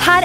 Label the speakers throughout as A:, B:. A: her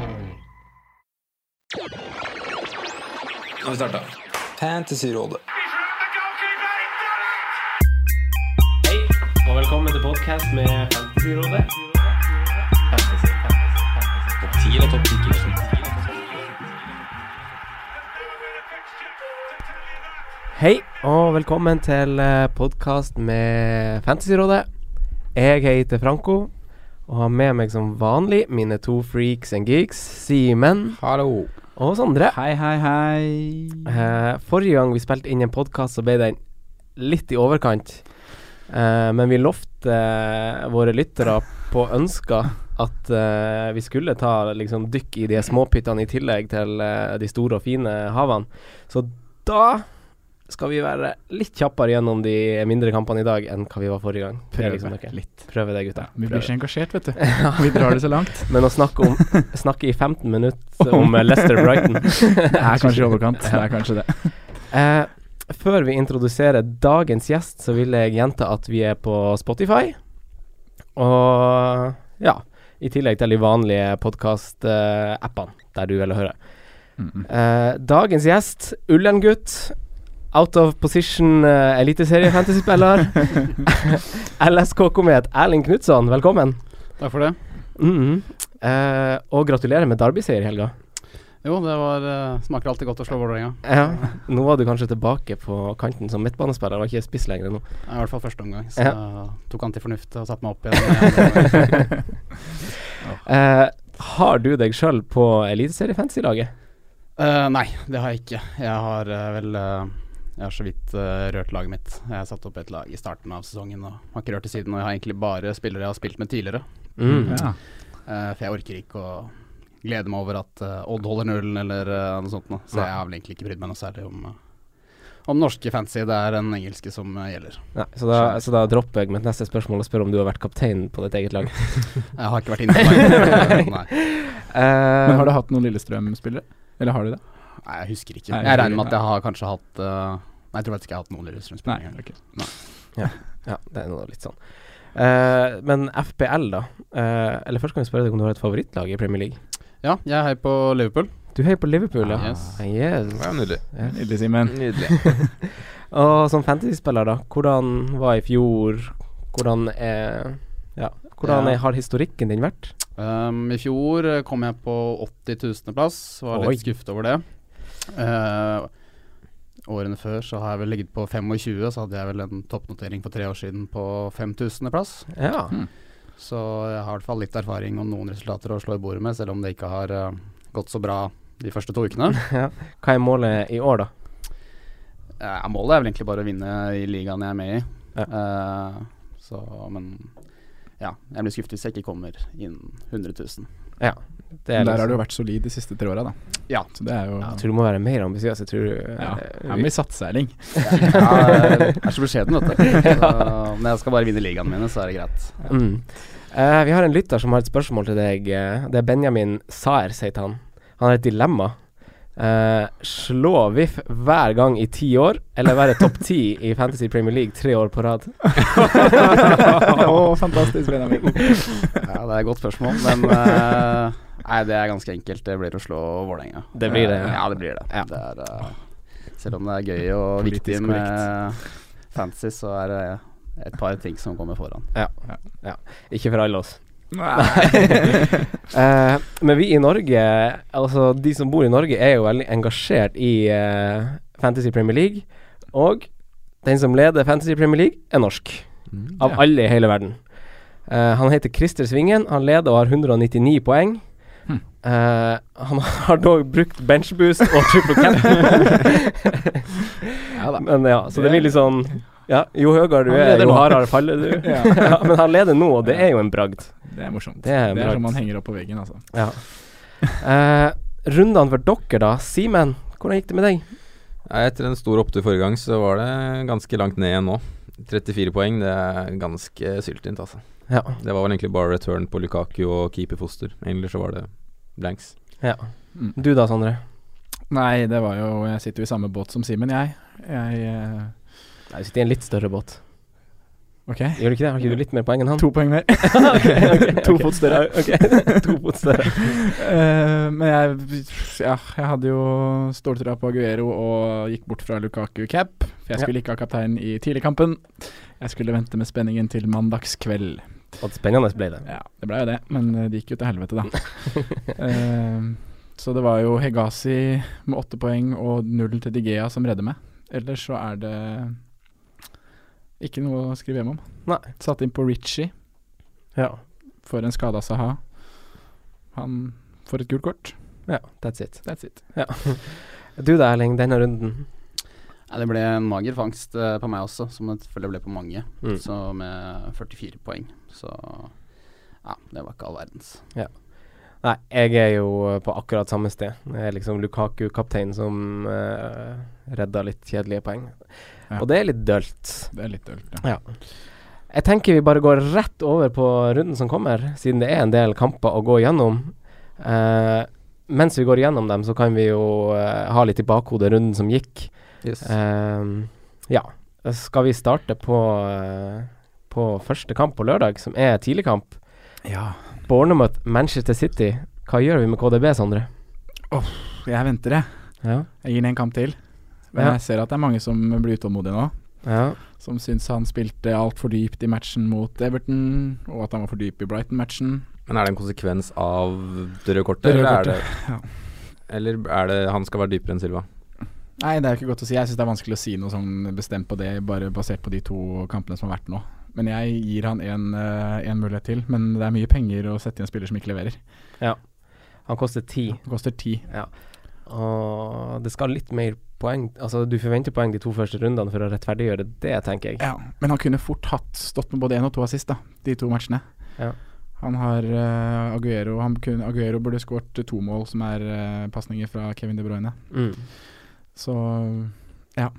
B: Nå har vi starta. Fantasyrådet.
C: Hei, og velkommen til podcast med Fantasyrådet. Topp 10 eller topp 10 Hei, og velkommen til eh, podcast med Fantasyrådet. Jeg heter Franco, og har med meg som vanlig mine to freaks and geeks, Simen
B: Hallo.
C: og Sondre.
B: Hei, hei, hei.
C: Eh, forrige gang vi spilte inn en podkast, så ble den litt i overkant. Eh, men vi lovte eh, våre lyttere på ønsker at eh, vi skulle ta liksom dykk i de småpyttene i tillegg til eh, de store og fine havene. Så da skal vi være litt kjappere gjennom de mindre kampene i dag enn hva vi var forrige gang. Det er
B: Prøve
C: dere.
B: litt.
C: Prøve det, gutta.
B: Vi blir
C: Prøve.
B: ikke engasjert, vet du. Vi drar det så langt.
C: Men å snakke, om, snakke i 15 minutter om eh, Leicester Brighton
B: Det er kanskje i overkant. Det er kanskje det.
C: Eh, før vi introduserer dagens gjest, så vil jeg gjenta at vi er på Spotify. Og ja, i tillegg til de vanlige podkast-appene der du vil høre. Eh, dagens gjest, Ullern-gutt. Out of position uh, eliteserie-fantasyspiller. LSK-komet Erling Knutson, velkommen.
B: Takk for det.
C: Mhm. Eh, og gratulerer med Derby-seier i helga.
B: Jo, det var, eh, smaker alltid godt å slå Vålerenga.
C: Ja, nå var du kanskje tilbake på kanten som midtbanespiller, var ikke spiss lenger nå.
B: I hvert fall første omgang.
C: så
B: tok han til fornuft og satte meg opp igjen.
C: Eh, har du deg sjøl på Eliteserie-fantasy-laget?
B: Eh, nei, det har jeg ikke. Jeg har eh, vel eh, Jeg har så vidt eh, rørt laget mitt. Jeg satte opp et lag i starten av sesongen og har ikke rørt det siden. Og jeg har egentlig bare spillere jeg har spilt med tidligere.
C: Mm.
B: Eh, for jeg orker ikke å glede meg over at eh, Odd holder nullen eller eh, noe sånt. Nå. Så jeg har vel egentlig ikke brydd meg noe særlig om, eh, om norske fancy. Det er den engelske som eh, gjelder.
C: Nei, så, da, så da dropper jeg mitt neste spørsmål og spør om du har vært kaptein på ditt eget lag.
B: Jeg har ikke vært inne på det. Nei.
C: Men har du hatt
B: nei, jeg husker ikke. Jeg regner med at jeg har kanskje hatt eh, Nei, jeg tror faktisk ikke jeg har hatt noen Lillestrøm-spillere. engang.
C: Eh, Ja, det er noe litt sånn. Eh, men FBL, da. Eh, eller først kan vi spørre deg om du har et favorittlag i Premier League.
B: Ja, jeg heier på Liverpool.
C: Du heier på Liverpool, ja.
B: Yes.
C: Ah, Yes.
D: nydelig.
C: Nydelig, Simen. og som fantasyspiller, da. Hvordan var i fjor? Hvordan er Ja. Hvordan
B: Ja.
C: er, har historikken din vært?
B: Um, I fjor eh, kom jeg på 80 000.-plass. Var
C: Oi.
B: litt skuffet over det. Eh, årene før så har jeg vel ligget på 25, så hadde jeg vel en toppnotering for tre år siden på 5000.-plass.
C: Ja.
B: Så jeg har i hvert fall litt erfaring og noen resultater å slå i bordet med, selv om det ikke har eh, gått så bra de første to ukene.
C: Hva er målet i år, da?
B: Eh, målet er vel egentlig bare å vinne i ligaen jeg er med i.
C: Ja.
B: Eh, så, men ja, jeg blir skuffet hvis jeg ikke kommer innen 100 000.
C: Ja. Det er
E: Men der
C: liksom-
E: har du vært solid de siste tre åra, da.
B: Ja.
E: Så det er jo
C: Jeg tror du må være mer ambisiøs. Jeg tror
E: Ja,
C: eh,
E: her må vi satse, Erling.
B: Ja, jeg er så beskjeden, vet du. Så, men jeg skal bare vinne ligaene mine, så er det greit.
C: mm. Eh, Vi har en lytter som har et spørsmål til deg. eh, Det er Benjamin Saer, sier han. Han har et dilemma. Eh, slå VIF hver gang i ti år, eller være topp ti i Fantasy Premier League tre år på rad?
E: Å, fantastisk, Benjamin.
B: Ja, det er et godt spørsmål, men eh, Nei, det er ganske enkelt. Det blir å slå Vålerenga. Eh,
C: Det blir det, ja.
B: Ja, det blir det. Det er, eh, selv om det er gøy og
E: Politisk
B: viktig med fancy, så er det et par ting som kommer foran.
C: Ikke for alle oss. Eh, men vi i Norge, altså de som bor i Norge, er jo veldig engasjert i eh, Fantasy Premier League. Og Den som leder Fantasy Premier League, er norsk.
E: Mm,
C: Av alle i hele verden. Eh, han heter Christer Svingen. Han leder og har 199 poeng.
E: Hm.
C: Eh, han har dog brukt benchboost og triple cap.
E: Ja da.
C: Men ja, så det blir litt sånn ja, Jo høyere du
E: Han
C: er,
E: leder
C: jo
E: nå.
C: hardere faller du.
E: Ja.
C: ja, men han leder nå, og det er jo en bragd.
E: Det er morsomt.
C: Det er bra.
E: som man henger opp på veggen, altså.
C: Ja. Eh, rundene for dere, da. Simen, hvordan gikk det med deg?
F: Nei, Etter en stor opptur forrige gang, så var det ganske langt ned igjen nå. 34 poeng, det er ganske syltynt, altså.
C: Ja.
F: Det var vel egentlig bare return på Lukaku og keeperfoster. Egentlig så var det blanks.
C: ja. Du da, Sondre?
E: Nei, det var jo Jeg sitter jo i samme båt som Simen, jeg. Jeg eh,
C: Nei, Du sitter i en litt større båt.
E: Ok.
C: Gjør du ikke det? Har ikke du litt mer poeng enn han?
E: To poeng mer. To fot større.
C: Ok, to fot større.
E: Eh, men jeg Ja, jeg hadde jo ståltrua på Aguero og gikk bort fra Lukaku cap. For jeg skulle ikke ha kaptein i tidligkampen. Jeg skulle vente med spenningen til mandagskveld.
C: Og spennende ble det.
E: Ja, det ble jo det, men eh, det gikk jo til helvete, da. Eh, så det var jo Hegazi med åtte poeng og null til Digea som redder meg. Ellers så er det ikke noe å skrive hjem om.
C: Nei.
E: Satt inn på Ritchie
C: Ja.
E: for en skade av Saha. Han får et gult kort.
C: ja. That's it.
E: That's it.
C: Du da, Erling. Denne runden.
B: Nei, det ble en mager fangst eh, på meg også, som det selvfølgelig ble på mange.
C: Mm.
B: Så med 44 poeng. Så ja, det var ikke all verdens.
C: Nei, jeg er jo eh, på akkurat samme sted. Jeg er liksom Lukaku-kapteinen som uh, redda litt kjedelige poeng.
E: Ja.
C: Og det er litt dølt.
E: Det er litt dølt, ja.
C: Ja. Jeg tenker vi bare går rett over på runden som kommer, siden det er en del kamper å gå gjennom. Eh, mens vi går gjennom dem, så kan vi jo eh, ha litt i bakhodet runden som gikk.
F: Yes.
C: Eh, ja. Skal vi starte på, eh, på første kamp på lørdag, som er tidligkamp?
E: Ja.
C: Bournemouth, Manchester City. Hva gjør vi med KDB, Sondre?
E: Jeg venter, jeg.
C: Ja.
E: Jeg gir den en kamp til. Men
C: Ja.
E: jeg ser at det er mange som blir utålmodige nå.
C: Ja.
E: Som syns han spilte altfor dypt i matchen mot Everton, og at han var for dyp i Brighton-matchen.
F: Men er det en konsekvens av det røde kortet,
E: Det røde
F: eller er
E: kortet,
F: det Eller er det han skal være dypere enn Silva?
E: Nei, det er jo ikke godt å si. Jeg syns det er vanskelig å si noe sånn bestemt på det, bare basert på de to kampene som har vært nå. Men jeg gir han en, eh, en mulighet til. Men det er mye penger å sette i en spiller som ikke leverer.
C: Han koster ti,
E: Det koster ti.
C: og det skal litt mer poeng Altså, du forventer poeng de to første rundene for å rettferdiggjøre det, tenker jeg.
E: Ja, men han kunne fort hatt stått med både én og to assist, da, de to matchene.
C: Ja.
E: Han har eh, Aguero han kunne, Aguero burde skåret to mål, som er uh, pasninger fra Kevin De Bruyne.
C: Mm.
E: Så ja.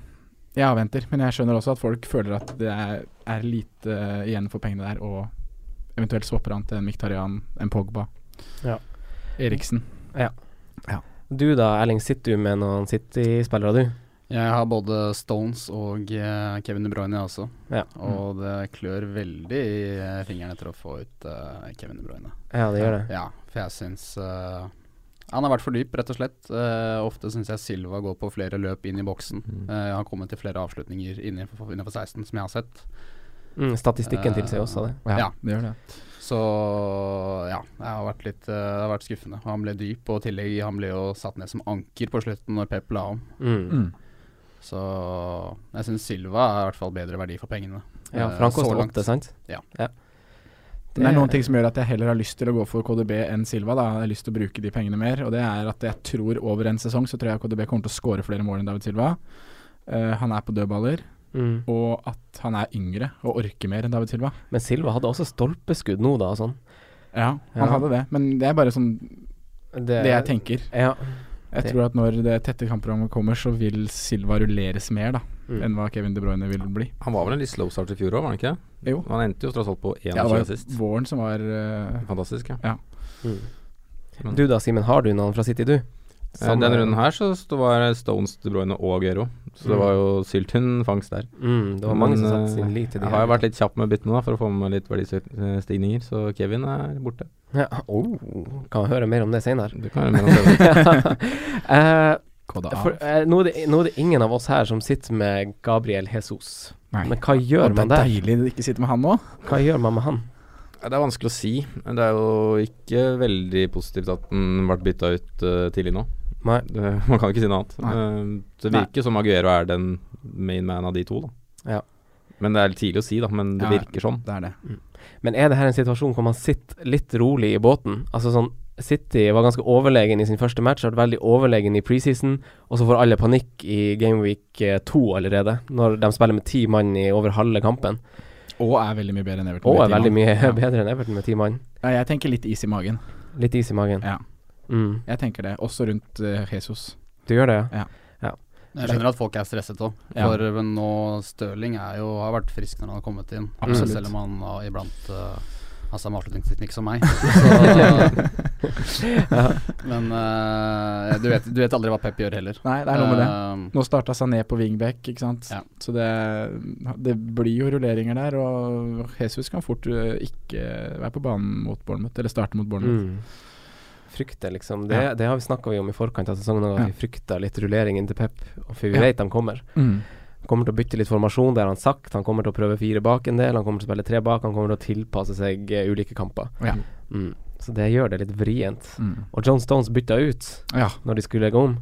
E: Jeg avventer, men jeg skjønner også at folk føler at det er, er lite eh, igjen for pengene der, og eventuelt swapper han til en Miktarian, en Pogba,
C: Ja.
E: Eriksen.
C: Du da, Erling, sitter du med noen City-spillere, du?
B: Jeg har både Stones og eh, Kevin De Bruyne jeg også.
C: Ja. Mm.
B: Og det klør veldig i eh, fingeren etter å få ut eh, Kevin De Bruyne.
C: Ja, det gjør det.
B: Ja, for jeg syns eh, han har vært for dyp, rett og slett. Eh, ofte syns jeg Silva går på flere løp inn i boksen.
F: Mm.
B: Eh, han har kommet til flere avslutninger innenfor, innenfor 16, som jeg har sett.
C: Mm, statistikken
B: Eh,
C: tilsier også det.
B: Ja.
E: det gjør det.
B: Så ja, det har vært litt eh, Det har vært skuffende. Han ble dyp, og i tillegg han ble jo satt ned som anker på slutten når Pep la om.
F: eh,
C: Mm.
E: Mm.
B: Så jeg syns Silva er i hvert fall bedre verdi for pengene.
C: Ja,
B: Eh,
C: for han
B: så
C: koster
B: langt.
C: åtte, sant?
B: Ja.
E: Det, er noen ting som gjør at jeg heller har lyst til å gå for KDB enn Silva. Da. Jeg har lyst til å bruke de pengene mer, og det er at jeg tror over en sesong så tror jeg KDB kommer til å skåre flere mål enn David Silva. Eh, han er på dødballer,
C: Mm.
E: og at han er yngre og orker mer enn David Silva.
C: Men Silva hadde også stolpeskudd nå, da, og sånn.
E: Ja, han
C: Ja.
E: hadde det, men det er bare sånn det jeg tenker.
C: Ja.
E: Jeg
C: Det-
E: tror at når det tette kampprogrammet kommer, så vil Silva rulleres mer da
C: Mm.
E: enn hva Kevin De Bruyne vil bli.
F: Han var vel en litt slow start i fjor òg, var han ikke? det?
E: Jo.
F: Han endte jo tross alt på 21
E: Ja, det var
F: sist.
E: våren som var eh,
F: Fantastisk, ja.
C: Mm. Du da, Simen. Har du noen fra City, du?
F: Eh, Denne runden her så sto- var Stones, De Bruyne og Aguero. Så det
C: Mm.
F: var jo syltynn fangst der.
C: Mm, det var mange som
F: Men,
C: satte sin
F: eh,
C: lit til de
F: Jeg har jo vært litt kjapp med byttene da, for å få med meg litt verdistigninger, så Kevin er borte.
C: ja. oh. Kan høre mer om det seinere.
F: Det kan være mer om det.
C: Eh,
E: KDA.
C: For, eh, nå, er det, nå er det ingen av oss her som sitter med Gabriel Jesus.
E: Nei.
C: Men hva gjør
E: Og det
C: man
E: er
C: der?
E: deilig å ikke sitte med han nå.
C: Hva gjør man med han?
F: Ja, Det er vanskelig å si. men Det er jo ikke veldig positivt at den ble bytta ut eh, tidlig nå.
C: Nei.
F: Det, man kan ikke si noe annet. Eh, det
E: Nei.
F: virker som Aguero er den main man av de to, da. Men det er litt tidlig å si, da. Men det
C: Ja,
F: virker sånn.
B: Det er det.
C: Men er det her en situasjon hvor man sitter litt rolig i båten? Altså sånn City var ganske overlegen i sin første match, har vært veldig overlegen i preseason, og så får alle panikk i Gameweek 2 allerede, når de spiller med ti mann i over halve kampen.
E: Og er veldig mye bedre enn Everton.
C: Og
E: med
C: er
E: ti
C: veldig
E: mann.
C: mye
E: Ja.
C: bedre enn Everton med ti mann.
E: Ja, jeg tenker litt is i magen.
C: Litt is i magen.
E: Ja.
C: Mm.
E: Jeg tenker det. Også rundt eh, Jesus.
C: Du gjør det, ja?
E: Ja.
B: Jeg skjønner at folk er stresset òg,
E: Ja.
B: for eh, men nå Stirling er jo, har vært frisk når han har kommet inn.
E: Absolutt.
B: Selv om han har iblant eh, har samme avslutningsteknikk som meg. Så, Men eh, du, vet, du vet aldri hva Pep gjør heller.
E: Nei, det er noe med det.
B: Eh,
E: Nå starta Sané på wingback, ikke sant.
B: Ja.
E: Så det, det blir jo rulleringer der, og Jesus kan fort eh, ikke være på banen mot Bournemouth, eller starte mot Bournemouth.
C: Mm. Frykter, liksom. Det,
E: Ja.
C: det har vi snakka om i forkant av sesongen, at
E: Ja.
C: vi frykter litt rullering inn til Pep, og for vi
E: Ja.
C: vet de kommer.
E: Mm.
C: Kommer til å bytte litt formasjon, det har han sagt. Han kommer til å prøve fire bak en del, han kommer til å spille tre bak, han kommer til å tilpasse seg eh, ulike kamper.
E: Ja.
C: Mm. Så det gjør det litt vrient.
E: Mm.
C: Og John Stones bytta ut
E: Ja.
C: når de skulle gå om.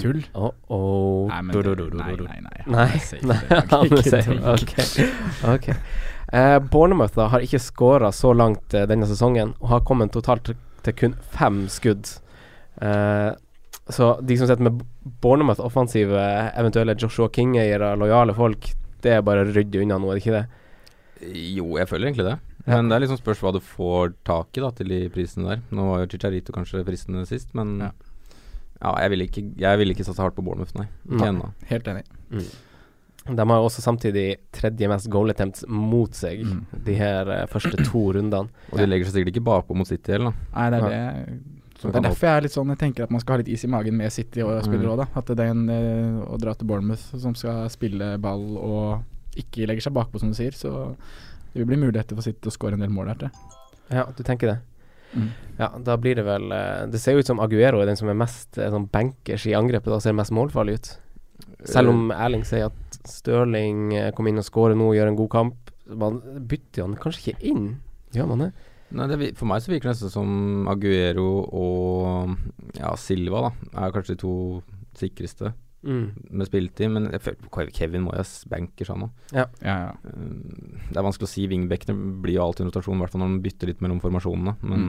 E: Tull.
C: Oh, oh.
E: Nei, men
C: Du,
E: det-
C: du, du, du,
E: nei,
C: du.
E: nei, nei, han
C: Nei,
E: er safe.
C: nei, han er safe. Ok. ok. Eh, Bournemouth da, har ikke skåra så langt eh, denne sesongen, og har kommet totalt til, til kun fem skudd. Eh, så de som sitter med Bournemouth-offensive, eventuelle Joshua King-eiere, lojale folk, det er bare å rydde unna nå, er det ikke det?
F: Jo, jeg føler egentlig det. Men det er liksom spørs hva du får tak i da til de prisene der. Nå var jo Chicharito kanskje fristende sist, men ja. jeg ville ikke, jeg ville ikke satse hardt på Bournemouth, nei. Ikke
C: Nei.
F: ennå.
E: Helt enig.
C: De har jo også samtidig tredje mest goal attempts mot seg, de her eh, første to rundene.
F: Og de legger seg sikkert ikke bakpå mot City heller, da.
E: Nei, det er
C: Ja.
E: det.
F: Så
E: Det er
F: kan
E: derfor jeg er litt sånn, jeg tenker at man skal ha litt is i magen med City og spillere òg, da. At det er en eh, å dra til Bournemouth som skal spille ball og ikke legger seg bakpå, som du sier. Så det vil bli muligheter for City å skåre en del mål der, tror jeg.
C: Ja, du tenker det.
E: Mm.
C: Ja, da blir det vel eh, Det ser jo ut som Aguero er den som er mest eh, sånn bankers i angrepet og ser mest målfarlig ut. Selv om Erling sier at Stirling eh, kom inn og skårer nå og gjør en god kamp. Man bytter han kanskje ikke inn, gjør man det?
F: Nei, det, vi- for meg så virker det nesten som Aguero og ja, Silva da er kanskje de to sikreste
C: Mm.
F: med spilletid. Men jeg føler Kevin Moyes banker seg nå.
E: Ja, ja.
F: Um, Det er vanskelig å si. Wingbackene blir jo alltid en rotasjon, i hvert fall når de bytter litt mellom formasjonene. Men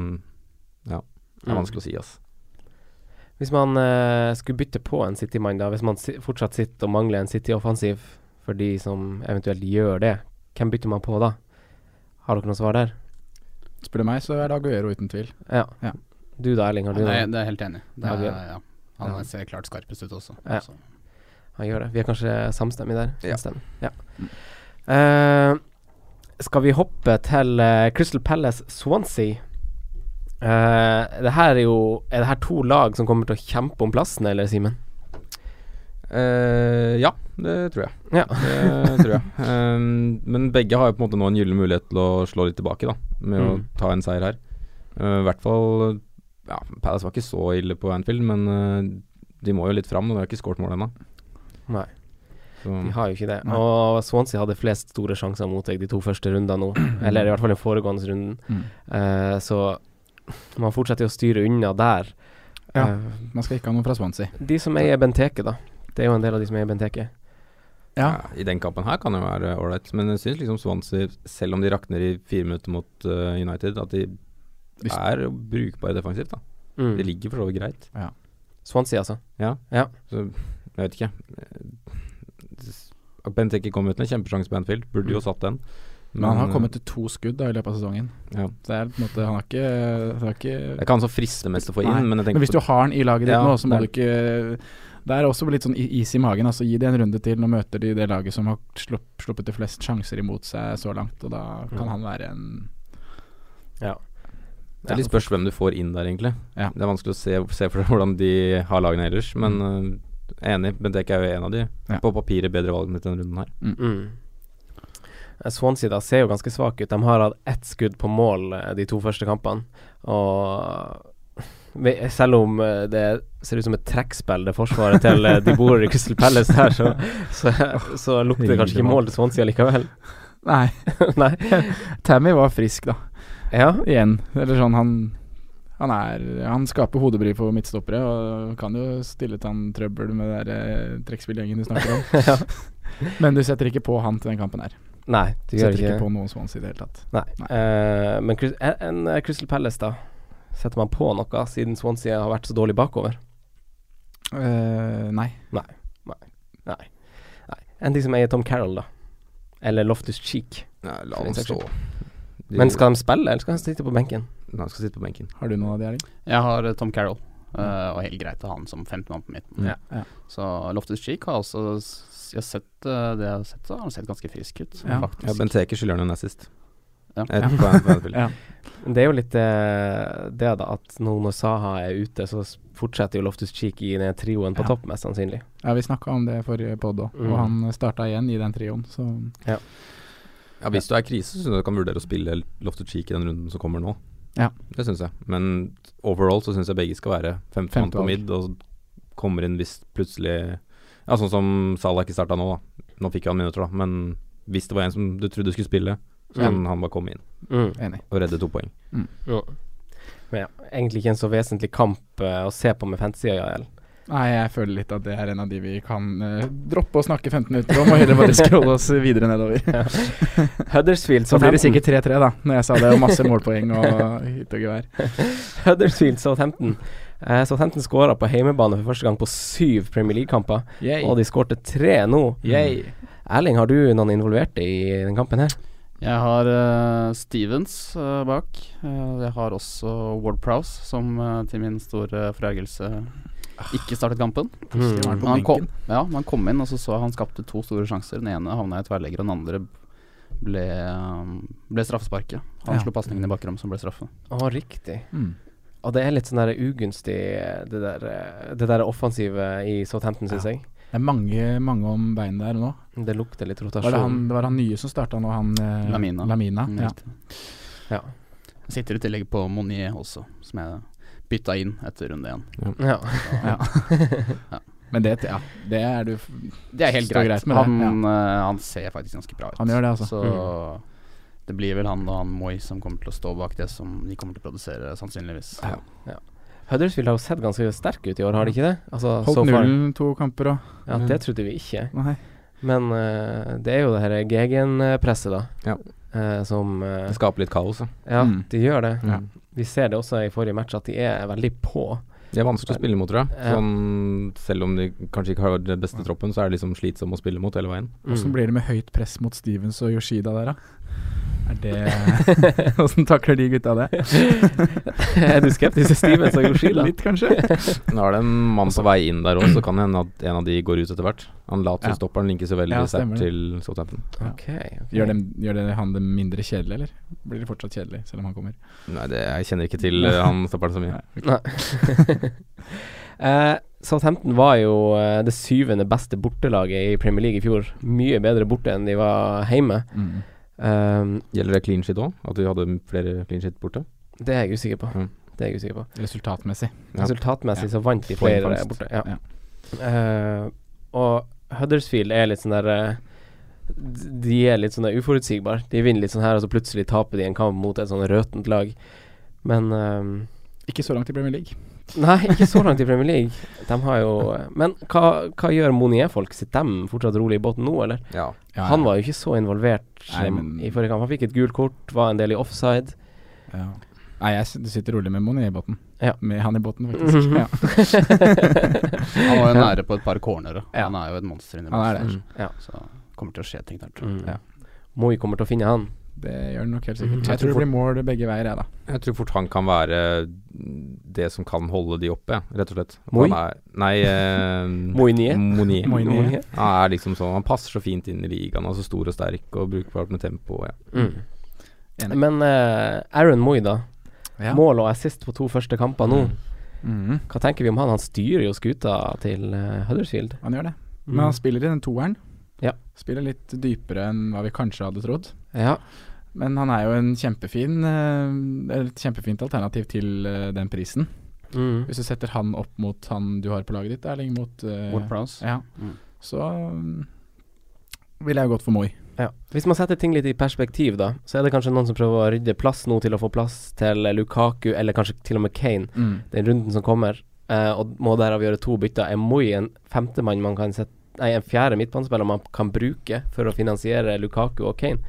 F: ja, det er
C: Mm.
F: vanskelig å si, ass.
C: Hvis man eh, skulle bytte på en City-mann, da, hvis man si fortsatt sitter og mangler en City-offensiv for de som eventuelt gjør det, hvem bytter man på da? Har dere noe svar der?
E: Spør du meg, så er det Aguero uten tvil.
C: Ja.
E: Ja.
C: Du da, Erling, har du
B: det,
C: noe?
B: det er jeg helt enig. i. Det er,
C: Aguero.
B: ja. Han
C: Ja.
B: ser klart skarpest ut også.
C: Ja.
B: Så.
C: Han gjør det. Vi er kanskje samstemmige der.
F: Ja.
C: Samstemmige. Ja. Eh, skal vi hoppe til eh, Crystal Palace Swansea? Eh, det her er jo Er det her to lag som kommer til å kjempe om plassen, eller, Simen?
F: Eh, ja, det tror jeg.
C: Ja.
F: Det tror jeg. Um, men begge har jo på en måte nå en gyllen mulighet til å slå litt tilbake, da. Med å
C: Mm.
F: ta en seier her. Uh, I hvert fall Ja, Palace var ikke så ille på Anfield, men uh, de må jo litt fram. og De har ikke skåret mål ennå.
C: Nei.
F: Så
C: De har jo ikke det.
E: Nei.
C: Og Swansea hadde flest store sjanser mot deg de to første rundene nå. Eller i hvert fall den foregående runden.
E: Mm.
C: Eh, så man fortsetter jo å styre unna der.
E: Ja.
C: Eh,
E: Man skal ikke ha noen fra Swansea.
C: de som eier Benteke, da. Det er jo en del av de som eier Benteke.
E: Ja.
F: ja, I den kampen her kan det være ålreit, men jeg syns liksom Swansea, selv om de rakner i fire minutter mot uh, United, at de
E: Hvis-
F: er brukbare defensivt. da
C: Mm.
F: Det ligger for så vidt greit.
C: Swansea, altså.
F: Ja.
C: Ja.
F: Så jeg vet ikke. Eh, Benteke kom ut med en kjempesjanse på Anfield. Burde jo satt den.
E: Mm. Men han har kommet til to skudd da, i løpet av sesongen.
F: ja.
E: Så det er på en måte, han har ikke, han har
F: Det er
E: ikke
F: ikke han som frister mest å få inn,
E: Nei,
F: men jeg
E: Men
F: tenker
E: hvis du har han i laget ditt
F: Ja,
E: nå, så må
F: det
E: du ikke Det er også litt sånn i- is i magen. Altså, gi det en runde til. Nå møter de det laget som har slupp- sluppet de flest sjanser imot seg så langt, og da kan han være en
F: på Det er litt spørs hvem du får inn der, egentlig.
E: Ja.
F: Det er vanskelig å se, se for deg hvordan de har lagene ellers, men eh, enig. Benteke er jo en av de.
E: Ja.
F: På papiret bedre valgene til denne runden her.
C: Mm. Eh, Swansea da ser jo ganske svak ut. De har hatt ett skudd på mål eh, de to første kampene. Og vi- selv om eh, det ser ut som et trekkspill, det forsvaret til eh, de bor i Crystal Palace her, så, så, så lukter det kanskje ikke mål til Swansea likevel.
E: Nei,
C: Nei.
E: Tammy var frisk, da.
C: Ja.
E: Igjen. Eller sånn, han Han, er, han skaper hodebry for midtstoppere og kan jo stille til han trøbbel med den der, eh, trekkspillgjengen du snakker om. Men du setter ikke på han til den kampen her.
C: Nei,
E: du setter ikke, på noen Swansea i det hele tatt.
C: Nei. Eh, men Crys- en, en Crystal Palace, da? Setter man på noe, siden Swansea har vært så dårlig bakover?
E: Eh, nei.
C: Nei. Nei. Nei. Nei. En ting som eier Tom Carroll, da. Eller Loftus Cheek.
F: Nei, la
C: for den
F: han
C: saks
F: stå.
C: skyld. Men skal de spille, eller skal han sitte på benken?
F: Nei, han skal sitte på benken.
E: Har du noen av de, Erling?
B: Jeg har eh, Tom Carroll, eh, og helt greit å ha han som femtemann på midten.
E: Ja. Ja.
B: Så Loftus Cheek har også s- Jeg har sett eh, det jeg har sett, så har han sett ganske frisk ut,
E: Ja.
B: faktisk.
F: Ja, Benteke skylder han en assist.
B: Ja.
F: Et poeng for en spill.
E: Ja.
C: Men Det er jo litt eh, det, da, at nå når Saha er ute, så s- fortsetter jo Loftus Cheek i den trioen på
E: Ja.
C: topp, mest sannsynlig.
E: Ja, vi snakka om det forrige podd òg,
C: Mm.
E: og han starta igjen i den trioen, så
F: Ja, Hvis du er i krise, så syns jeg du kan vurdere å spille Loftus Cheek i den runden som kommer nå.
E: Ja.
F: Det syns jeg. Men overall så syns jeg begge skal være femtemann
E: Femte
F: på
E: valg.
F: midd, og kommer inn hvis plutselig Ja, sånn som Salah ikke starta nå, da. Nå fikk jo han minutter, da, men hvis det var en som du trodde skulle spille, så kan han bare komme inn
C: Mm.
E: enig.
F: og redde to poeng.
C: Ja. Men ja, egentlig ikke en så vesentlig kamp eh, å se på med fantasy Jael.
E: Nei, jeg føler litt at det er en av de vi kan eh, droppe å snakke 15 minutter om, og heller bare scrolle oss videre nedover.
C: Huddersfield
E: Så blir det
C: Southampton.
E: sikkert 3-3, da, når jeg sa det, og masse målpoeng og hytt og gevær.
C: Huddersfield Southampton. Eh, Southampton skåra på heimebane for første gang på syv Premier League-kamper, og de skårte tre nå.
E: Mm.
C: Erling, har du noen involverte i den kampen her?
B: Jeg har eh, Stevens eh, bak. Eh, jeg har også Ward Prowse, som eh, til min store forergelse ikke startet kampen.
C: Mm.
E: var han på
B: Men han kom,
E: benken?
B: ja, men han kom inn, og så så jeg han skapte to store sjanser. Den ene havna i tverrlegger, og den andre ble, eh, ble straffesparket. Han
E: Ja.
B: slo pasningen i bakrom, som ble straffe.
C: Å, riktig.
E: Mm.
C: Og det er litt sånn der ugunstig, eh, det der, eh, det der offensive i Southampton, syns jeg.
E: Det er mange, mange om beinet der nå.
C: Det lukter litt rotasjon.
E: Var det, han, det var han nye som starta nå, han eh,
B: Lamina. Mm,
E: ja.
B: riktig.
C: Ja.
B: Jeg sitter i tillegg på Monier også, som jeg bytta inn etter runde én.
C: Ja.
E: Men det, ja, det er du f-
B: Det er helt
E: Står
B: greit.
E: greit med
B: han,
E: det,
B: eh, han ser faktisk ganske bra ut.
E: Han gjør det, altså.
B: Så det blir vel han og han Moi som kommer til å stå bak det som de kommer til å produsere, sannsynligvis.
F: Ja.
C: Huddersfield har jo sett ganske sterke ut i år, har de ikke det? Altså,
E: Holdt
C: so far.
E: nullen Mm. to kamper òg.
C: Ja, det trodde vi ikke.
E: Nei.
C: Men eh, det er jo det her Gegenpresset, da.
F: Ja.
C: eh, som eh,
F: Det skaper litt kaos. da.
C: Ja,
E: Mm.
C: de gjør det.
F: Ja.
C: Vi ser det også i forrige match, at de er veldig på.
F: De er vanskelig å spille mot, tror jeg.
C: Ja.
F: Sånn, selv om de kanskje ikke har den beste troppen, så er det liksom slitsom å spille mot hele veien.
C: Mm.
E: Åssen blir det med høyt press mot Stevens og Yoshida der, da? Er det Åssen takler de gutta det?
C: er du skeptisk til Stevens og Yoshida?
E: Litt, kanskje.
F: Nå er det en mann
E: Altså-
F: på vei inn der òg, så kan det hende at en av de går ut etter hvert. Han later
E: Ja.
F: som stopper, han linkes jo veldig
E: Ja,
F: sterkt
E: stemmer det.
F: til Southampton.
C: Ok, ok.
E: Gjør, dem, gjør det han det mindre kjedelig, eller? Blir det fortsatt kjedelig, selv om han kommer?
F: Nei, det, jeg kjenner ikke til eh, han stopperen så mye.
C: Eh, Southampton var jo eh, det syvende beste bortelaget i Premier League i fjor. Mye bedre borte enn de var hjemme.
E: Mm.
C: Um,
F: Gjelder det clean shit òg? At vi hadde flere clean shit borte?
C: det er jeg usikker på.
F: Mm.
C: Det er jeg usikker på.
E: Resultatmessig.
F: Ja.
C: Resultatmessig så vant de flere
E: Poengfangst.
C: borte. Ja.
E: Ja.
C: Eh, og Huddersfield er litt sånn der eh, d- De er litt sånn der uforutsigbare. De vinner litt sånn her, og så plutselig taper de en kamp mot et sånn røtent lag. Men eh,
E: Ikke så langt i Premier League.
C: Nei, ikke så langt i Premier League. De har jo eh, Men hva, hva gjør Monier-folk? Sitter de fortsatt rolig i båten nå, eller?
F: Ja.
E: Ja,
C: Han var jo ikke så involvert
E: Nei,
C: um,
E: men-
C: i forrige kamp. Han fikk et gult kort, var en del i offside.
E: ja. Nei, jeg s- du sitter rolig med Moni i båten.
C: Ja.
E: Med han i båten, faktisk.
C: Mhm.
E: Ja.
B: Han var jo nære på et par cornere.
C: Ja.
B: Han er jo et monster inni
E: Han er
B: monster,
C: det. Ja.
B: Så kommer til å skje ting der. tror jeg.
C: Mm.
E: Ja.
C: Moi kommer til å finne han.
E: Det gjør han nok
C: Mhm.
E: helt sikkert.
F: Jeg
E: Jeg tror
F: tror
E: det blir mål begge veier, jeg, da.
F: Jeg tror fort han kan være det som kan holde de oppe, ja, rett og slett. At
C: Moi?
F: han er- Nei, eh,
C: Moinier.
F: Monier.
E: Moinier.
C: Moinier.
F: Han er liksom sånn Han passer så fint inn i ligaen, han er så stor og sterk og brukbart med tempo. Ja.
C: Mm.
E: Enig.
C: Men eh, Aaron Moi, da.
E: Ja.
C: Mål og assist på to første kamper nå.
E: Mhm.
C: Hva tenker vi om han? Han styrer jo skuta til eh, Huddersfield.
E: Han gjør det. Men han spiller i den
C: Mhm.
E: toeren.
C: Ja.
E: Spiller litt dypere enn hva vi kanskje hadde trodd.
C: Ja.
E: Men han er jo en kjempefin eh, et kjempefint alternativ til eh, den prisen.
C: Mm.
E: Hvis du setter han opp mot han du har på laget ditt, Erling, mot eh,
B: Ward Prowse.
E: Ja.
B: Mm.
E: Så um, ville jeg gått for Moi.
C: Ja. Hvis man setter ting litt i perspektiv, da, så er det kanskje noen som prøver å rydde plass nå til å få plass til eh, Lukaku, eller kanskje til og med Kane,
E: Mm.
C: den runden som kommer, eh, og må derav gjøre to bytter. Er Moi en femtemann man kan sette Nei, en fjerde midtbanespiller man kan bruke for å finansiere Lukaku og Kane?